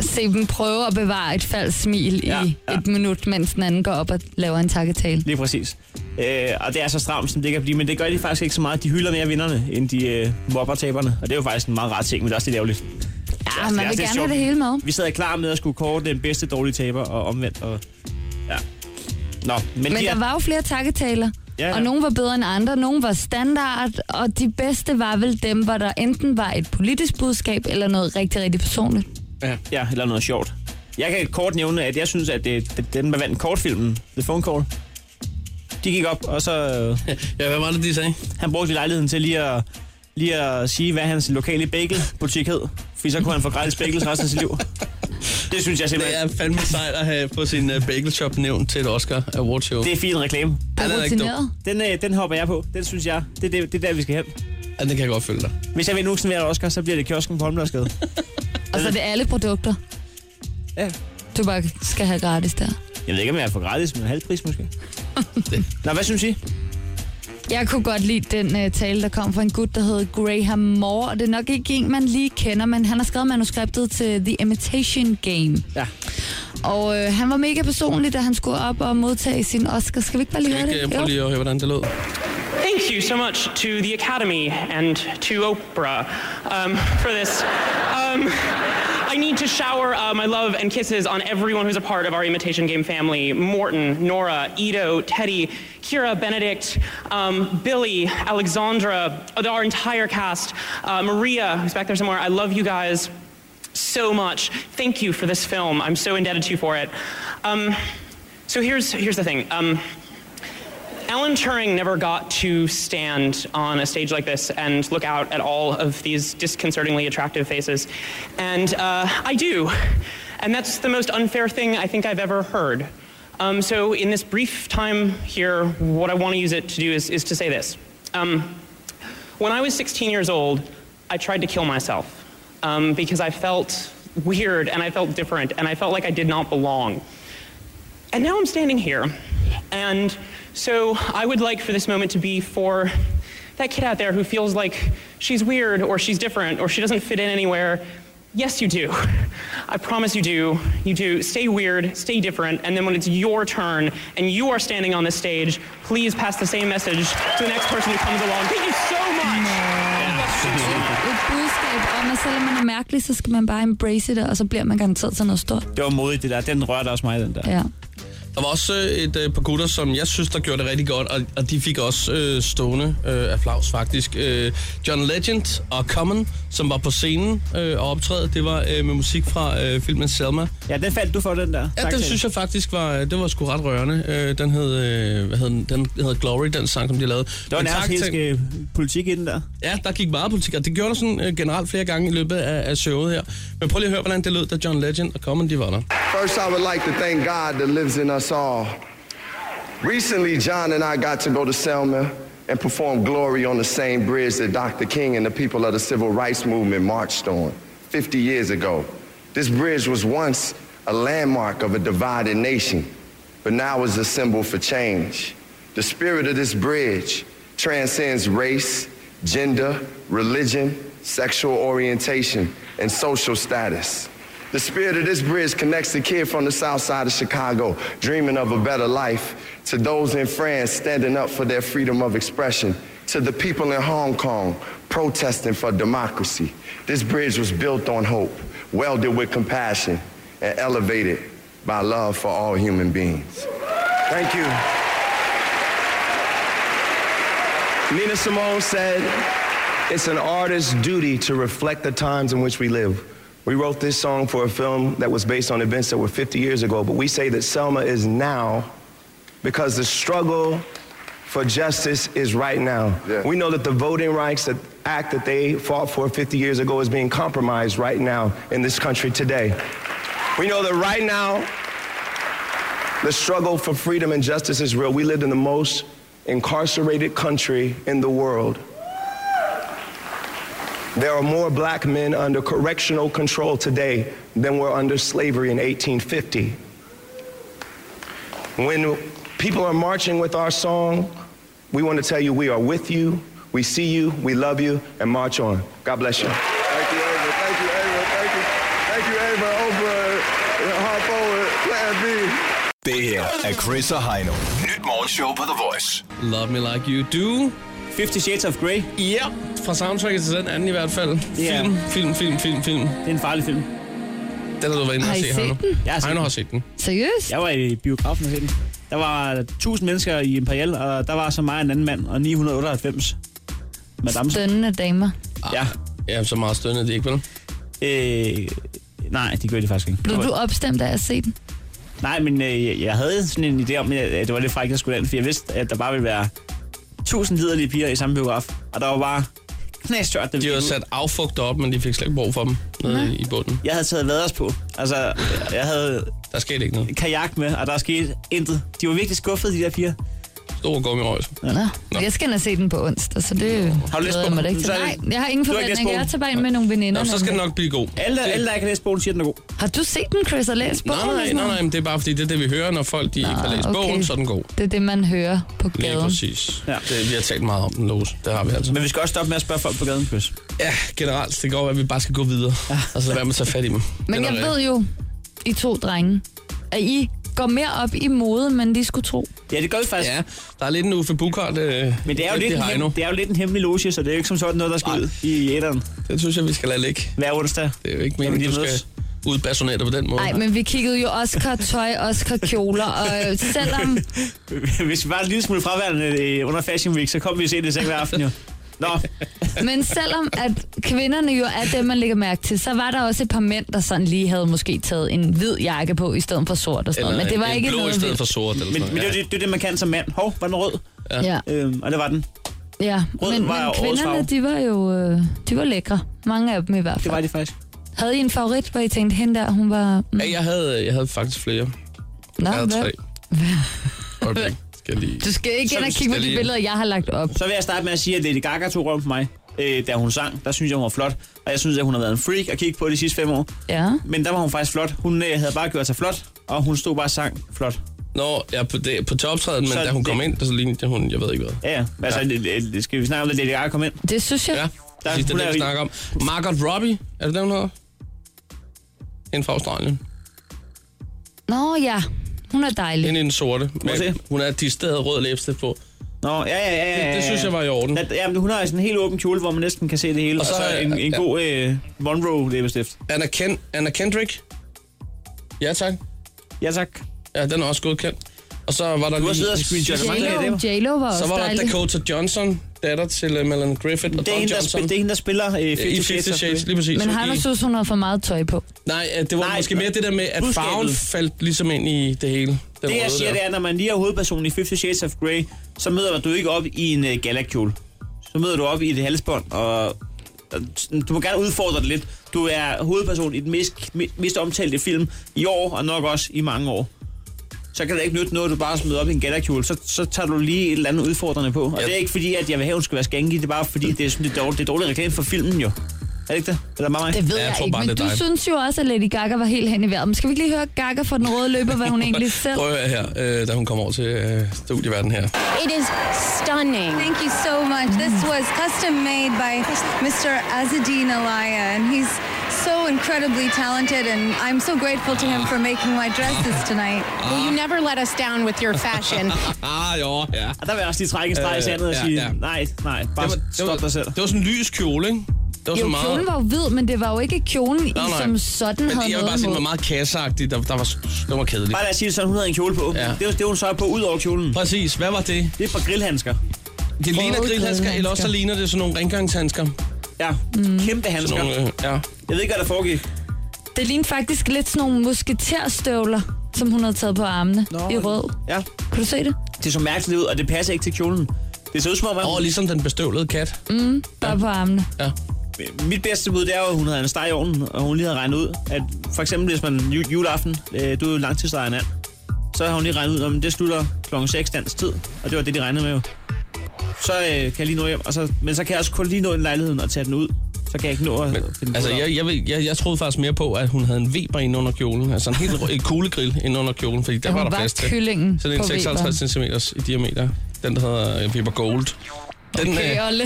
S5: Se dem prøve at bevare et falsk smil
S4: Ja,
S5: ja, i
S4: ja.
S5: ja. et minut, mens den anden går op og laver en takketale.
S4: Lige præcis. Øh, og det er så stramt, som det kan blive, men det gør de faktisk ikke så meget. De hylder mere vinderne, end de øh, mobber taberne. Og det er jo faktisk en meget rar ting, men det er også lidt ærgerligt.
S5: Ja,
S4: det er
S5: Ah,
S4: altså
S5: man vil
S4: lidt
S5: gerne
S4: sjovt.
S5: have det hele med.
S4: Vi sad klar med at skulle kåre den bedste dårlige taber og omvendt. Og, ja. Nå, men,
S5: Men
S4: de er,
S5: der var jo flere takketaler.
S4: Ja, ja.
S5: Og nogle var bedre end andre, nogle var standard, og de bedste var vel dem, hvor der enten var et politisk budskab eller noget rigtig, rigtig personligt.
S4: Ja, eller noget sjovt. Jeg kan kort nævne, at jeg synes, at det, det, den, der vandt kortfilmen, The Phone Call, de gik op, og så øh,
S3: Ja, hvad var det, de sagde?
S4: han brugte lejligheden til lige at, lige at sige, hvad hans lokale bagelbutik hed. Fordi så kunne han få gratis bagels resten af sit liv. Det synes
S3: Det
S4: jeg simpelthen.
S3: er fandme sejt at have på sin uh, bagel shop nævnt til et Oscar Award Show.
S4: Det er fin reklame.
S5: Det
S3: Han er
S5: er
S3: da ikke dum.
S5: rutineret.
S4: Den, øh, den hopper jeg på. Den synes jeg. Det, er det, det er der, vi skal hen.
S3: Ja, det kan jeg godt følge dig.
S4: Hvis jeg vil nu være Oscar, så bliver det kiosken på Holmløsgade.
S5: Og så er det alle produkter.
S4: Ja.
S5: Du bare skal have gratis der.
S4: Jeg ved ikke, om jeg får gratis, men halvpris måske. Nå, hvad synes I?
S5: Jeg kunne godt lide den uh, tale, der kom fra en gut, der hed Graham Moore. Og det er nok ikke en, man lige kender, men han har skrevet manuskriptet til The Imitation Game.
S4: Ja.
S5: Og øh, han var mega personlig, da han skulle op og modtage sin Oscar. Skal vi ikke bare lige
S3: Kan
S5: høre
S3: vi ikke
S5: det?
S3: uh, prøve
S5: Jo.
S3: lige at høre, hvordan det lød?
S10: Thank you so much to the Academy and to Oprah um, for this. Um, I need to shower uh, my love and kisses on everyone who's a part of our Imitation Game family Morton, Nora, Ito, Teddy, Kira, Benedict, um, Billy, Alexandra, our entire cast, uh, Maria, who's back there somewhere. I love you guys so much. Thank you for this film. I'm so indebted to you for it. Um, so here's, here's the thing. Um, Alan Turing never got to stand on a stage like this and look out at all of these disconcertingly attractive faces. And uh, I do. And that's the most unfair thing I think I've ever heard. Um, so, in this brief time here, what I want to use it to do is, is to say this. Um, when I was 16 years old, I tried to kill myself um, because I felt weird and I felt different and I felt like I did not belong. And now I'm standing here. And so I would like for this moment to be for that kid out there who feels like she's weird or she's different or she doesn't fit in anywhere. Yes, you do. I promise you do. You do. Stay weird, stay different, and then when it's your turn and you are standing on this stage, please pass the same message to the next person who comes along. Thank you so much.
S5: Et budskab om sådan, at selvom man er mærkelig, så skal man bare embrace det, og så bliver man garanteret til noget stort.
S4: Det var modigt, det der. Den rørte også mig, den der.
S5: Ja.
S3: Der var også øh, et øh, par gutter, som jeg synes, der gjorde det rigtig godt, og, og de fik også øh, stående øh, applaus faktisk. Øh, John Legend og Common, som var på scenen øh, og optræde, det var øh, med musik fra øh, filmen Selma.
S4: Ja, den faldt du for, den der.
S3: Ja, den synes jeg faktisk var, det var sgu ret rørende. Øh, den hed, øh, hvad hed den? den hed Glory, den sang, som de lavede.
S4: Der var
S3: Men
S4: nærmest
S3: tak til-
S4: helt øh, politik i den der.
S3: Ja, der gik meget politik, og det gjorde der sådan øh, generelt flere gange i løbet af, af showet her. Men prøv lige at høre, hvordan det lød, da John Legend og Common, de var der.
S11: First, I would like to thank God that lives in us all. Recently, John and I got to go to Selma and perform Glory on the same bridge that Dr. King and the people of the civil rights movement marched on 50 years ago. This bridge was once a landmark of a divided nation, but now is a symbol for change. The spirit of this bridge transcends race, gender, religion, sexual orientation, and social status. The spirit of this bridge connects the kid from the south side of Chicago, dreaming of a better life, to those in France standing up for their freedom of expression, to the people in Hong Kong protesting for democracy. This bridge was built on hope, welded with compassion, and elevated by love for all human beings. Thank you.
S12: Nina Simone said, It's an artist's duty to reflect the times in which we live. We wrote this song for a film that was based on events that were 50 years ago, but we say that Selma is now because the struggle for justice is right now. We know that the Voting Rights Act that they fought for 50 years ago is being compromised right now in this country today. We know that right now, the struggle for freedom and justice is real. We lived in the most incarcerated country in the world. There are more black men under correctional control today than were under slavery in 1850. When people are marching with our song, we want to tell you we are with you, we see you, we love you, and march on. God bless you.
S11: Thank you, Ava. Thank you. Thank you, Ava. Oprah, Hop Forward, Plan B.
S7: Det her er Chris og Heino. Nyt morgenshow på The Voice.
S3: Love Me Like You Do.
S4: 50 Shades of Grey.
S3: Ja, fra soundtracket til den anden i hvert fald.
S4: Ja.
S3: Film, film, film, film, film. Det
S4: er en farlig film.
S3: Den har du været inde
S5: Har
S3: og
S5: I
S3: se,
S5: set
S3: Heino.
S5: den?
S4: Jeg har set
S3: Heino
S4: den.
S3: har set den.
S5: Seriøst?
S4: Jeg var i biografen og se den. Der var 1000 mennesker i Imperial, og der var så mig og en anden mand, og 998 madame.
S5: Stønnende damer.
S4: Ja.
S3: Ja, så meget stønnede det ikke, vel?
S4: Øh, nej, det gør det faktisk ikke.
S5: Blev du opstemt af at se den?
S4: Nej, men øh, jeg- jeg havde sådan en idé om, at at det var lidt frækt, at skulle den, for jeg vidste, at der bare ville være 1000 liderlige piger i samme biograf, og der var bare knæstørt, det
S3: De har sat affugter op, men de fik slet ikke brug for dem nede i bunden.
S4: Jeg havde taget vaders på. Altså, jeg havde...
S3: Der skete ikke noget.
S4: kajak med, og der skete intet. De var virkelig skuffede, de der piger.
S3: Stor gummi røjs.
S5: Nå. Jeg skal ind og se den på onsdag, så det
S4: Har du læst
S5: glæder jeg
S4: bogen?
S5: mig da ikke til.
S4: Så er det-
S5: Nej, jeg har ingen
S4: Du har ikke læst
S5: forventninger. Jeg
S4: bogen?
S5: tager bare ind med nogle veninder.
S3: Nå, så skal det nok blive god.
S4: Alle, alle, der ikke har læst bogen, siger, den er god.
S5: Har du set den, Chris, og læst bogen?
S3: Nej,
S5: eller
S3: nej,
S5: sådan
S3: nej,
S5: noget?
S3: nej, men det er bare fordi, det er det, vi hører, når folk de ikke har læst
S5: okay.
S3: bogen, så er den god.
S5: Det er det, man hører på
S3: Lige
S5: gaden.
S3: præcis. Ja. Det, vi har talt meget om den, Lose. Det har vi altså.
S4: Men vi skal også stoppe med at spørge folk på gaden, Chris.
S3: Ja, generelt. Det går, at vi bare skal gå videre. Ja. Og så lade være med at tage fat i dem.
S5: Men
S3: Det er
S5: jeg
S3: noget
S5: ved jo, I to drenge, at I går mere op i mode, men de skulle tro.
S4: Ja, det gør vi faktisk.
S3: Ja, der er lidt en Uffe Bukart. Øh,
S4: Men det er, jo lidt en
S3: Heino.
S4: hem, det er jo lidt en hemmelig loge, så det er jo ikke som sådan noget, der skal ud i etteren.
S3: Det synes jeg, vi skal lade ligge.
S4: Hver onsdag. *laughs*
S3: Det er jo ikke
S4: Jamen,
S3: meningen,
S4: de
S3: du skal
S4: mødes.
S3: udbasonater på den måde.
S5: Nej, men vi kiggede jo Oscar tøj, Oscar kjoler, og øh, selvom...
S4: Hvis vi var en lille smule fraværende øh, under Fashion Week, så kom vi og se det i seng hver aften jo. *laughs* Nå,
S5: Men selvom at kvinderne jo er dem, man lægger mærke til, så var der også et par mænd, der sådan lige havde måske taget en hvid jakke på i stedet for sort og sådan noget. Men det var
S3: en
S5: ikke
S3: blå i
S5: noget
S3: stedet
S5: vildt.
S3: for sort. Eller
S4: men,
S3: sådan
S4: men det, er
S3: noget.
S4: jo det, det er det, man kan som mand. Hov, var den rød?
S5: Ja.
S4: Øhm, og det var den.
S5: Ja,
S4: Rød
S5: men,
S4: var
S5: men
S4: årets farve.
S5: kvinderne, de var jo øh, de var lækre. Mange af dem i hvert fald.
S4: Det var de faktisk.
S5: Havde I en favorit, hvor I tænkte, hende der, hun var... Mm,
S3: Ja, jeg havde, jeg havde faktisk flere.
S5: Nå,
S3: jeg havde
S5: hvad? *laughs*
S3: tre. Okay, skal jeg lige...
S5: Du skal ikke
S3: Så
S5: ind og kigge på
S3: skal
S5: de
S3: lige-
S5: billeder, jeg har lagt op.
S4: Så vil jeg starte med at sige, at Lady Gaga tog røven på mig, øh, da hun sang. Der synes jeg, hun var flot. Og jeg synes, at hun har været en freak at kigge på de sidste fem år.
S5: Ja.
S4: Men der var hun faktisk flot. Hun øh, havde bare gjort sig flot, og hun stod bare og sang flot.
S3: Nå, jeg er på, det, på toptræden, men
S4: Så
S3: da hun
S4: det-
S3: kom ind, så lignede hun, jeg ved ikke hvad.
S4: Ja, ja. Altså, ja. skal vi snakke om, at Lady Gaga kom ind?
S5: Det synes jeg.
S3: Ja,
S4: Der-
S3: præcis, det
S4: hun
S3: er
S4: er
S3: det, vi
S4: jo-
S3: snakker om. Margot Robbie, er det den, hun hedder? Hende fra Australien.
S5: Nå ja, hun er dejlig.
S3: Hende i den sorte.
S4: se.
S3: Men hun er de steder rød læbstift på.
S4: Nå, ja, ja, ja. ja,
S3: Det- det synes jeg var i orden.
S4: At, jamen, hun har sådan en helt åben kjole, hvor man næsten kan se det hele. Og så, og så en, en ja. god øh, Monroe læbestift.
S3: Anna, Ken, Anna Kendrick. Ja, tak.
S4: Ja, tak.
S3: Ja, den er også godkendt. Og så var der
S4: Du har
S3: lige...
S4: siddet og screenshotet mange af dem.
S5: J-Lo var
S3: Så
S5: også
S3: var der
S5: dejlig.
S3: Dakota Johnson, datter til uh, Melanie Griffith og
S4: Det er
S3: Don
S4: hende, der
S3: Johnson.
S4: spil- det er hende, der spiller uh,
S3: i Fifty Shades, lige præcis.
S5: Men han
S3: I-
S5: har synes, hun havde for meget tøj på.
S3: Nej, øh, det var
S4: Nej,
S3: Nej, måske mere det der med, at
S4: budskabet.
S3: farven faldt ligesom ind i det hele. Den
S4: Det jeg
S3: røde
S4: siger,
S3: der.
S4: det er, når man lige er hovedpersonen i Fifty Shades of Grey, så møder du ikke op i en uh, galakjole. Så møder du op i et halsbånd, og og du må gerne udfordre det lidt. Du er hovedperson i den mest, me- mest omtalte film i år, og nok også i mange år. Så kan det ikke nytte noget, at du bare smider op i en galakjole. Så, så tager du lige et eller andet udfordrende på. Og det er ikke fordi, at jeg vil have, at hun skal være skænke. Det er bare fordi, det er, sådan, det er dårligt, det er dårlig reklame for filmen jo. Er det ikke det? Eller bare mig?
S5: Det ved jeg, ikke, men du
S4: dig.
S5: synes jo også, at Lady Gaga var helt hen i vejret. Men skal vi ikke lige høre Gaga fra den røde løber,
S3: *laughs*
S5: hvad hun egentlig selv...
S3: Prøv at høre her, øh, da hun kom over til øh, studieverden her.
S13: It is stunning.
S14: Thank you so much. This was custom made by Mr. Azadine Alaya, and he's so incredibly talented, and I'm so grateful to him for making my dresses tonight.
S3: *laughs*
S13: Well, you never let us down with your fashion.
S3: ah, jo, ja.
S4: Og der vil jeg også lige trække en streg i
S3: Øh,
S4: sandet og
S3: ja,
S4: sige,
S3: ja.
S4: nej, nej, bare
S3: Det var- det var-
S4: stop dig selv.
S3: Det var sådan en lys kjole, ikke? Det var
S5: Jo,
S3: så meget...
S5: kjolen var jo hvid, men det var jo ikke kjolen,
S3: Nej,
S5: I
S3: nej.
S5: som sådan
S3: Men
S5: havde
S3: jeg vil bare
S5: noget
S3: sige, den var
S5: imod.
S3: meget kasseagtig. Der, der var, den var kedelig.
S4: Bare lad os sige det sådan, hun havde en kjole på. Ja. Det var det, hun så på ud over kjolen.
S3: Præcis. Hvad var det?
S4: Det er fra grillhandsker.
S3: Det ligner grillhandsker, eller også så ligner det sådan nogle rengøringshandsker.
S4: Ja, mm. kæmpe handsker.
S3: Sådan nogle, øh, ja.
S4: Jeg ved ikke, hvad der foregik.
S5: Det lignede faktisk lidt sådan nogle musketerstøvler, som hun havde taget på armene Nå, i rød.
S4: Ja.
S5: Kan du se det?
S4: Det så mærkeligt ud, og det passer ikke til kjolen. Det ser ud som om, at...
S3: Åh, ligesom den bestøvlede kat.
S5: Mm, bare ja. på armene.
S3: Ja.
S4: Mit bedste bud, det er jo, at hun havde en steg i ovnen, og hun lige havde regnet ud, at for eksempel hvis man ju- juleaften, øh, du er jo langtidslejer en and, så har hun lige regnet ud, om det slutter klokken 6 dansk tid, og det var det, de regnede med jo. Så øh, kan jeg lige nå hjem, og så, men så kan jeg også kun lige nå ind i lejligheden og tage den ud. Så kan jeg ikke nå at men, finde
S3: Altså,
S4: den ud af.
S3: jeg, jeg, ved- jeg, jeg troede faktisk mere på, at hun havde en Weber inde under kjolen. Altså en helt rød- en kuglegrill inde under kjolen, fordi der
S5: Ja,
S3: var
S5: hun
S3: der
S5: var
S3: plads til.
S5: kyllingen
S3: Sådan en
S5: på
S3: 56 cm i diameter. Den, der hedder øh, Weber Gold. Den, øh,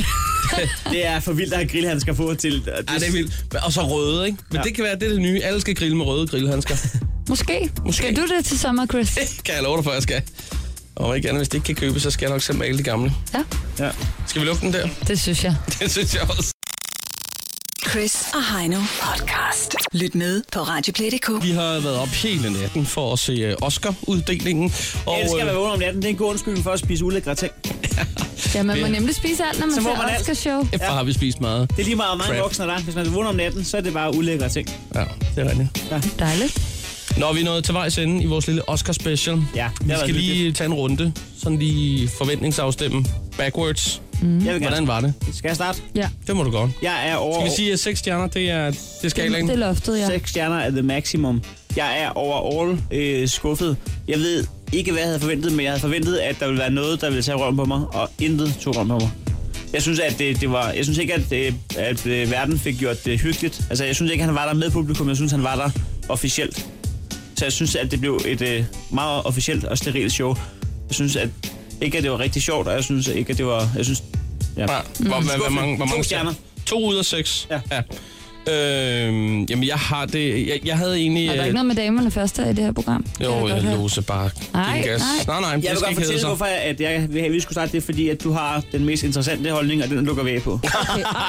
S4: det er for vildt at have grillhandsker på til. Det,
S3: Ja, det er vildt. Og så røde, ikke? Men ja. det kan være, det er det nye. Alle skal grille med røde *laughs* grillhandsker.
S5: Måske.
S3: Måske.
S5: Skal du det til sommer, Chris?
S3: kan jeg love dig for, jeg skal. Og ikke andet, hvis det ikke kan købe, så skal jeg nok selv male de gamle.
S5: Ja.
S4: ja.
S3: Skal vi lukke den der?
S5: Det synes jeg.
S3: *laughs* Det synes jeg også.
S2: Chris og Heino podcast. Lyt med på Radioplay.dk.
S3: Vi har været op hele natten for at se øh, Oscar-uddelingen. Og,
S4: Jeg elsker at
S3: øh,
S4: være vågen om natten. Det er en god undskyldning for at spise ulækre ting.
S5: Ja, man må
S4: Det-
S5: nemlig spise alt, når man
S4: Så må
S5: ser
S4: man alt.
S5: Oscar-show.
S3: Efter har vi spist meget.
S4: Det er lige meget, hvor mange
S3: Crap.
S4: voksne der er. Hvis man er vågen om natten, så er det bare ulækre ting.
S3: Ja, det er rigtigt.
S4: Ja.
S5: Dejligt.
S3: Når vi er nået til vejs ende i vores lille Oscar-special,
S4: ja,
S3: vi
S4: været
S3: skal lige tage en runde. Sådan lige forventningsafstemme. Backwards. Mm.
S4: Jeg vil gerne-
S3: Hvordan var det?
S4: Skal jeg starte?
S5: Ja.
S3: Det må du godt.
S4: Jeg er over...
S3: Skal vi sige, at seks stjerner, det er, det er skalaen?
S5: Det er loftet, ja.
S4: 6 stjerner er the maximum. Jeg er overall øh, skuffet. Jeg ved ikke, hvad jeg havde forventet, men jeg havde forventet, at der ville være noget, der ville tage røven på mig, og intet tog røven på mig. Jeg synes, at det, det var, jeg synes ikke, at, øh, at øh, verden fik gjort det hyggeligt. Altså, jeg synes ikke, han var der med publikum. Jeg synes, han var der officielt. Så jeg synes, at det blev et øh, meget officielt og sterilt show. Jeg synes, at ikke, at det var rigtig sjovt, og jeg synes ikke, at det var... Jeg synes, ja.
S3: Ja. Hvor, hvor, hvor,
S4: Skuffet.
S3: mange, hvor mange
S4: Mm. to stjerner.
S3: To ud af seks. Ja. ja. Øhm, jamen, jeg har det... Jeg, jeg havde egentlig... øh,
S5: Er der ikke noget med damerne første i det her program? Kan jeg
S3: Jo,
S5: godt
S3: jeg
S5: høre.
S3: låser bare give
S5: Nej,
S3: gas.
S5: nej.
S3: nej, nej. det
S4: Jeg vil
S3: skal
S4: godt
S3: ikke hedde
S4: fortælle,
S3: sig.
S4: hvorfor at jeg vil have, at vi skulle starte det, er fordi at du har den mest interessante holdning, og den lukker vi af på.
S5: Okay,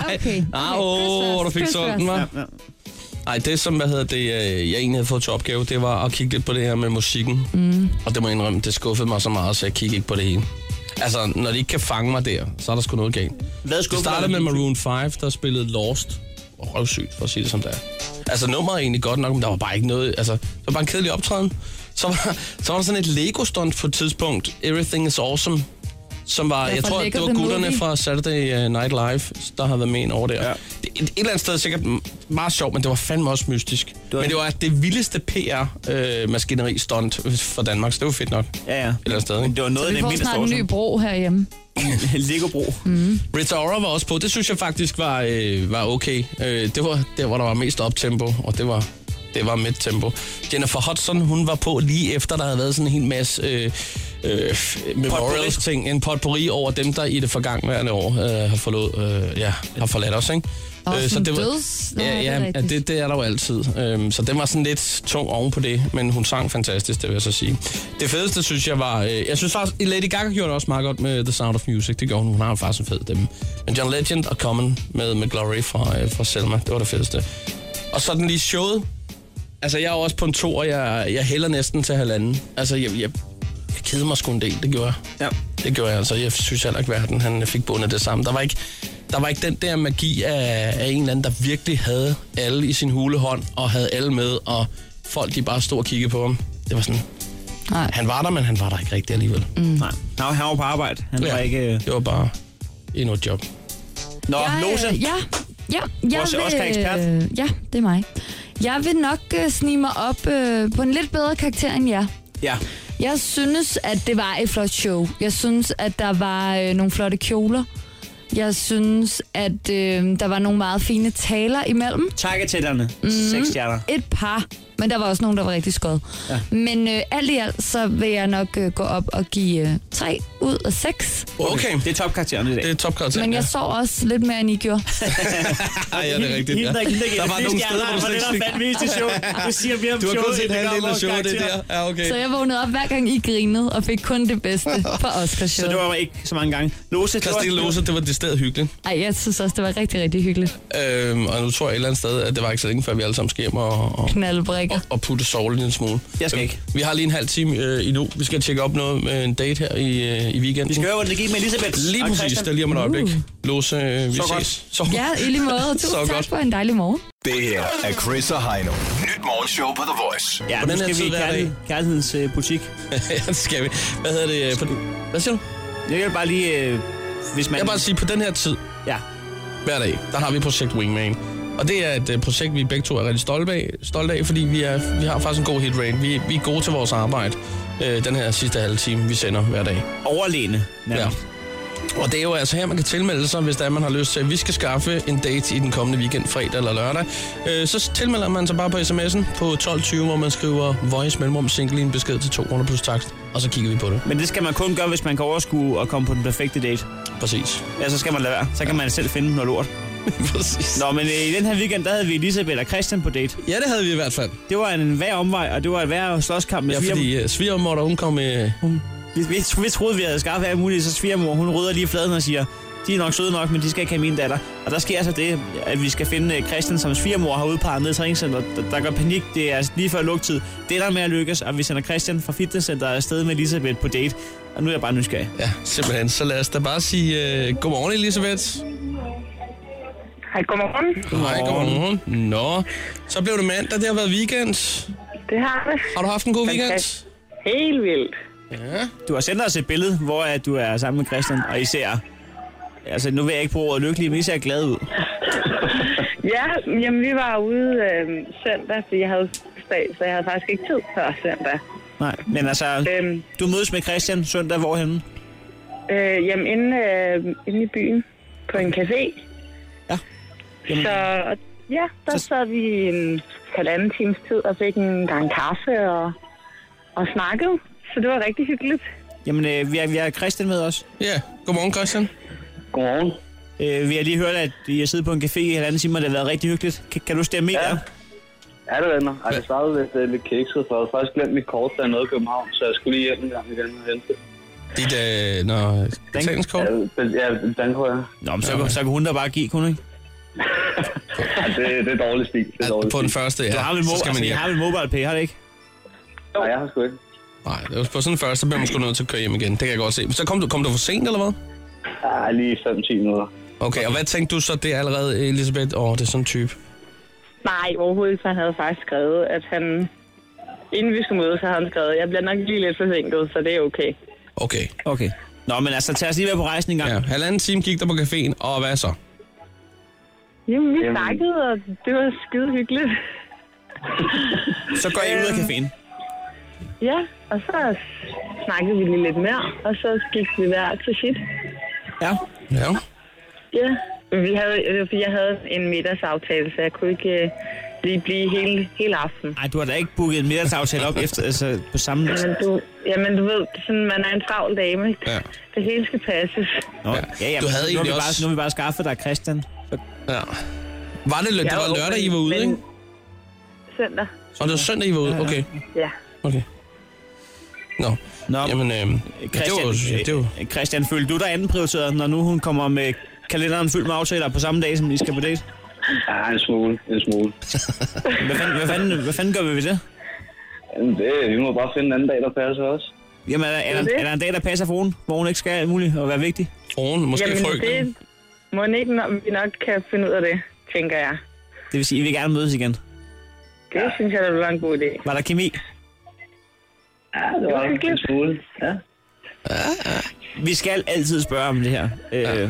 S5: okay.
S3: *laughs*
S5: okay.
S3: Ah, åh, hvor du fik solgt den, hva'?
S4: Ja, ja.
S3: Nej, det som, hvad hedder det, øh, jeg egentlig havde fået til opgave, det var at kigge lidt på det her med musikken.
S5: Mm.
S3: Og det må jeg indrømme, det skuffede mig så meget, så jeg kiggede ikke på det hele. Altså, når de ikke kan fange mig der, så er der sgu noget galt.
S4: Hvad
S3: det startede med Maroon 5, der spillede Lost. Og røvsygt, for at sige det som det er. Altså, nummeret er egentlig godt nok, men der var bare ikke noget... Altså, det var bare en kedelig optræden. Så var, så var der sådan et Lego-stunt på et tidspunkt. Everything is awesome. Som var,
S4: Ja,
S3: jeg
S4: fra
S3: tror,
S4: Lego
S3: det var
S4: The
S3: gutterne
S4: Movie.
S3: fra Saturday uh, Night Live, der havde været med ind over der. Ja. Det, et, et eller andet sted sikkert meget sjovt, men det var fandme også mystisk. Det var men det var det vildeste PR-maskineri-stunt for Danmark, så det var fedt nok.
S4: Ja, ja. Et
S3: eller andet sted, ikke?
S4: Det var noget
S5: Vi får snart en ny bro herhjemme.
S4: Lego-bro.
S5: Mm.
S3: Rita Ora var også på. Det synes jeg faktisk var, øh, var okay. Øh, det var der, hvor der var mest optempo, og det var, det var midt tempo. Jennifer Hudson, hun var på lige efter, der havde været sådan en hel masse øh, øh, memorials ting, en potpourri over dem, der i det forgangne år øh, har, forlod, øh, ja, har forladt os, ikke? Øh,
S5: Nå, sådan
S3: var,
S5: døds- Nå,
S3: ja,
S5: det er
S3: ja, ja
S5: rigtigt.
S3: det, det er der jo altid. Øhm, så den var sådan lidt tung oven på det, men hun sang fantastisk, det vil jeg så sige. Det fedeste, synes jeg, var... Øh, jeg synes faktisk, Lady Gaga gjorde det også meget godt med The Sound of Music. Det gjorde hun. Hun har jo faktisk en fed dem. Men John Legend og Common med, med Glory fra, øh, fra Selma, det var det fedeste. Og så den lige showet. Altså, jeg er jo også på en tor, jeg, jeg hælder næsten til halvanden. Altså, jeg, jeg, jeg kedede mig sgu en del, det gjorde jeg. Ja. Det gjorde jeg altså. Jeg synes heller ikke, verden han fik bundet det sammen. Der var ikke, der var ikke den der magi af, af en eller anden, der virkelig havde alle i sin hulehånd, og havde alle med, og folk de bare stod og kiggede på ham. Det var sådan...
S5: Nej.
S3: Han var der, men han var der ikke rigtig alligevel.
S5: Mm.
S4: Nej. Han var, han var på arbejde. Han
S3: Ja.
S4: var ikke... øh,
S3: Det var øh, bare endnu et job.
S4: Nå,
S5: Jeg, øh,
S4: Lose.
S5: Ja, ja. Jeg
S4: Vores
S5: vil,
S4: Oscar-ekspert.
S5: øh, Ja, det er mig. Jeg vil nok øh, snige mig op øh, på en lidt bedre karakter end jer.
S4: Ja.
S5: Jeg synes, at det var et flot show. Jeg synes, at der var øh, nogle flotte kjoler. Jeg synes, at øh, der var nogle meget fine taler imellem.
S4: Targetætterne. Mm. Seks stjerner.
S5: Et par, men der var også nogen, der var rigtig skød.
S4: Ja.
S5: Men øh, alt i alt, så vil jeg nok øh, gå op og give øh, 3 ud af 6.
S3: Okay.
S4: Det er topkarakteren i dag.
S3: Det er topkarakteren,
S5: Men jeg sov også lidt mere, end I gjorde.
S3: Ej, ja, det er rigtigt. Ja.
S4: Hende, der, hende, der,
S3: Der var nogle steder, hvor du slet
S4: ikke... Det der
S3: ikke
S4: fandme mest i showet. Du siger mere om
S3: Du har
S4: showet,
S3: kun set
S4: end der
S3: halvdelen
S4: om
S3: af
S4: vores
S3: showet, det
S4: karakterer.
S3: der. Ja, okay.
S5: Så jeg vågnede op hver gang, I grinede, og fik kun det bedste for Oscars
S4: Så det var ikke så mange gange. Lose,
S3: Christine Lose, det var det sted hyggeligt.
S5: Ej, jeg synes også, det var rigtig, rigtig hyggeligt.
S3: Øhm, og nu tror jeg et eller andet sted, at det var ikke så længe, før vi alle sammen skal hjem og, og,
S5: Knaldbrikker.
S3: og putte sovlen en smule. Øhm,
S4: Jeg skal ikke.
S3: Vi har lige en halv time øh, endnu. Vi skal tjekke op noget med en date her i, øh, i weekenden.
S4: Vi skal høre, hvordan det gik med Elisabeth
S3: Lige
S4: og
S3: præcis,
S4: Christian. Uh.
S3: det er lige om et øjeblik. Lose, øh, vi
S4: Så
S3: ses.
S4: godt.
S3: Så
S5: Ja, i lige måde.
S3: Så
S5: Tusind tak
S3: godt.
S5: for en dejlig morgen.
S7: Det her er Chris og Heino. Nyt morgenshow på The Voice.
S4: Ja, nu
S3: Hvordan er
S4: skal
S3: tid
S4: vi i
S3: hver dag?
S4: kærlighed, kærlighedens øh, butik.
S3: *laughs* ja, det skal vi. Hvad hedder det? øh, På, hvad siger du?
S4: Jeg vil bare lige... Øh, hvis man...
S3: Jeg vil bare sige, på den her tid,
S4: Ja.
S3: hver dag, der har vi projekt Wingman. Og det er et øh, projekt, vi begge to er rigtig stolte af, stolte af fordi vi, er, vi har faktisk en god hit rate. Vi, vi er gode til vores arbejde øh, den her sidste halve time, vi sender hver dag.
S4: Overlæne.
S3: Ja. Og det er jo altså her, man kan tilmelde sig, hvis der man har lyst til, at vi skal skaffe en date i den kommende weekend, fredag eller lørdag. Øh, så tilmelder man sig bare på sms'en på 12.20, hvor man skriver voice mellemrum single i en besked til 2 kroner plus takst, og så kigger vi på det.
S4: Men det skal man kun gøre, hvis man kan overskue at komme på den perfekte date.
S3: Præcis.
S4: Ja, så skal man lade være. Så kan man selv finde noget lort.
S3: Præcis.
S4: Nå, men øh, i den her weekend, der havde vi Elisabeth og Christian på date.
S3: Ja, det havde vi i hvert fald.
S4: Det var en værd omvej, og det var en værd slåskamp med
S3: Ja,
S4: svigermor.
S3: fordi uh, svigermor, hun kom med...
S4: Vi, vi, vi, troede, vi havde skaffet alt muligt, så svigermor, hun rydder lige fladen og siger, de er nok søde nok, men de skal ikke have min datter. Og der sker så det, at vi skal finde øh, Christian, som svigermor har udpeget ned i træningscenteret, der, der går panik. Det er altså lige før lugtid. Det ender med at lykkes, og vi sender Christian fra fitnesscenteret afsted med Elisabeth på date. Og nu er jeg bare nysgerrig.
S3: Ja, simpelthen. Så lad os da bare sige uh, godmorgen, Elisabeth.
S9: Hej, godmorgen.
S3: Hej, godmorgen. Nå, så blev det mandag. Det har været weekend.
S9: Det har vi.
S3: Har du haft en god
S9: Fantastisk.
S3: weekend?
S9: Helt vildt.
S3: Ja.
S4: Du har sendt os et billede, hvor at du er sammen med Christian, og I ser... Altså, nu vil jeg ikke bruge ordet lykkelig, men I ser glad ud.
S9: Ja, jamen vi var ude øh, søndag, fordi jeg havde fødselsdag, så jeg havde faktisk ikke tid før søndag.
S4: Nej, men altså,
S9: Øhm.
S4: du mødes med Christian søndag hvorhenne?
S9: Øh, jamen inde, øh, inde i byen på en café. Ja.
S4: Jamen.
S9: Så og, ja, der sad vi i en halvanden times tid og fik en gang kaffe og, og snakkede. Så det var rigtig hyggeligt.
S4: Jamen, øh, vi, har, vi har Christian med os.
S3: Ja, godmorgen Christian.
S8: Godmorgen.
S4: Øh, vi har lige hørt, at I har siddet på en café i halvanden time, og det har været rigtig hyggeligt. Kan, kan du stemme ja.
S8: Ja, det vender. Ej, det startede lidt, øh, lidt kikset, for jeg havde faktisk glemt mit kort, da jeg nåede København, så jeg skulle lige hjem en gang igen og hente det.
S3: Dit, øh, nå, betalingskort?
S8: Ja, ben- Ja, bankkort, ja.
S4: Nå, men så, ja, så kan hun da bare give, kunne hun ikke?
S8: Ej, det, det er dårlig stil. Det er dårlig
S3: På den
S8: stil.
S3: første,
S4: Du har
S3: ja.
S4: vel,
S3: Så
S4: mo-
S3: skal
S4: altså,
S3: man
S4: I
S3: hjem.
S4: har vel mobile pay, har det ikke?
S8: Nej, jeg har sgu ikke.
S3: Nej, det var på sådan en første, så bliver man sgu nødt til at køre hjem igen. Det kan jeg godt se. Men så kom du, kom du for sent, eller hvad?
S8: Ja, lige 5-10 minutter.
S3: Okay, og hvad tænkte du så, det er allerede Elisabeth? Åh, oh, det er sådan en type.
S9: Nej, overhovedet ikke, for han havde faktisk skrevet, at han... Inden vi skulle mødes, så havde han skrevet, jeg bliver nok lige lidt forsinket, så det er okay.
S3: Okay.
S4: Okay. Nå, men altså, tag os lige med på rejsen en gang.
S3: Ja, halvanden time gik der på caféen, og hvad så?
S9: Jamen, vi
S8: Jamen.
S9: snakkede, og det var skide hyggeligt.
S4: Så går I ud af caféen.
S9: Ja, og så snakkede vi lige lidt mere, og så gik vi hver til sit.
S4: Ja.
S3: Ja.
S9: Ja, vi havde, det var, fordi jeg havde en middagsaftale, så jeg kunne ikke øh, blive, blive hele, hele aften.
S4: Ej, du har da ikke booket en middagsaftale op efter, altså, på samme...
S9: Jamen du, jamen, du ved, sådan, man er en travl dame.
S4: Ja.
S9: Det hele skal passes.
S4: Nå, ja, ja,
S3: Du havde
S4: nu, har vi
S3: egentlig
S4: bare,
S3: også-
S4: nu har vi bare skaffet dig Christian.
S3: Ja. Var det, lø- det
S9: Ja,
S3: var lørdag, I var ude,
S9: men-
S3: ikke?
S9: Søndag.
S3: Og det var søndag, I var ude? Okay.
S9: Ja.
S3: okay. Nå.
S4: Nå,
S3: Jamen, øh, det var,
S4: Christian, øh,
S3: jo- det var,
S4: Christian, følte du dig anden prioriteret, når nu hun kommer med kalenderen fyldt med aftaler på samme dag, som I skal på date?
S8: Ja, en smule. En smule.
S4: *laughs* hvad, fanden, hvad, fanden, hvad fanden gør vi ved det?
S8: Jamen, det, vi må bare finde en anden dag, der passer os.
S4: Jamen, er, der- er, der, er der en dag, der passer for hun, hvor hun ikke skal alt muligt og være vigtig?
S3: Fruen,
S9: jamen, det må ikke, når vi nok kan finde ud af det, tænker jeg.
S4: Det vil sige, I vil gerne mødes igen.
S9: Det ja. synes jeg, der ville være en god idé.
S4: Var der kemi?
S9: Ja, det var en
S8: smule. Ja.
S4: Vi skal altid spørge om det her. Øh, nej,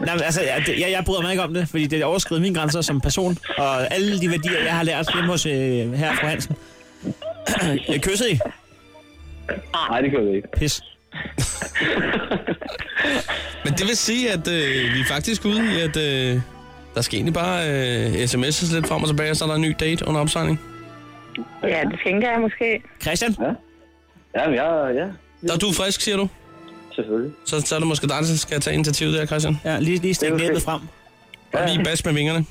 S4: men altså, jeg, jeg, jeg bryder mig ikke om det, fordi det overskrider mine grænser som person, og alle de værdier, jeg har lært hjemme hos øh, her fru Hansen. *clears throat* Jeg kysser I?
S8: Nej, det gør vi ikke.
S4: Pis.
S3: men det vil sige, at øh, vi er faktisk ude i, at øh, der skal egentlig bare øh, sms'es lidt frem og tilbage, og så er der en ny date under opsejling.
S9: Ja, det tænker jeg måske.
S4: Christian?
S8: Ja, Jamen, jeg, ja.
S3: Og du er frisk, siger du?
S8: Selvfølgelig.
S3: Så, så er det måske dig, der skal tage initiativet der, Christian.
S4: Ja, lige, lige stik næbet frem.
S3: Og lige bas med
S8: *laughs*
S3: vingerne.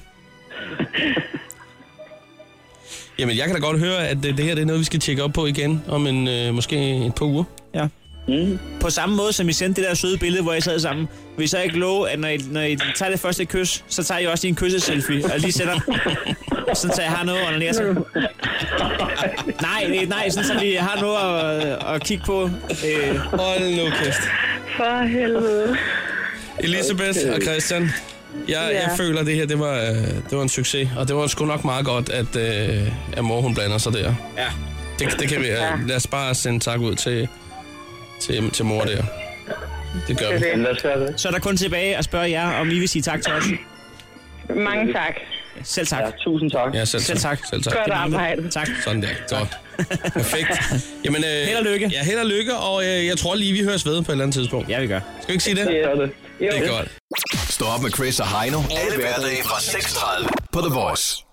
S3: Jamen, jeg kan da godt høre, at øh, det, det her det er noget, vi skal tjekke op på igen om en, øh, måske et par uger.
S4: Ja. Mm. På samme måde, som I sendte det der søde billede, hvor I sad sammen, vil I så ikke love, at når I, når I tager det første kys, så tager I også lige en kysseselfie, og lige
S8: *laughs*
S4: sætter sådan, så jeg har noget under næsen. Nej, det- nej, sådan, så vi har noget at, at kigge på. Øh.
S3: Hold nu kæft.
S9: For helvede.
S3: Elisabeth og Christian, jeg,
S9: Ja.
S3: jeg føler, at det her det var, øh, det var en succes, og det var sgu nok meget godt, at, øh, at mor hun blander sig der.
S4: Ja.
S3: Det, det kan vi, ja. Lad os bare sende tak ud til, til, til mor der. Det gør vi.
S4: Så er der kun tilbage at spørge jer, om I vil sige tak til os.
S9: Mange tak.
S4: Selv tak. Ja,
S8: tusind tak.
S3: Ja, selv,
S4: Selv tak.
S3: Selv tak.
S9: Godt arbejde.
S4: Tak.
S3: Sådan der. Godt. Perfekt. Jamen, øh, held
S4: og lykke.
S3: Ja, held og lykke, og øh, jeg tror lige, vi høres ved på et eller andet tidspunkt.
S4: Ja, vi gør.
S3: Skal vi ikke sige det?
S8: Det er det.
S3: Det er godt.
S7: Stå op med Chris og Heino. Alle hverdage fra 6.30 på The Voice.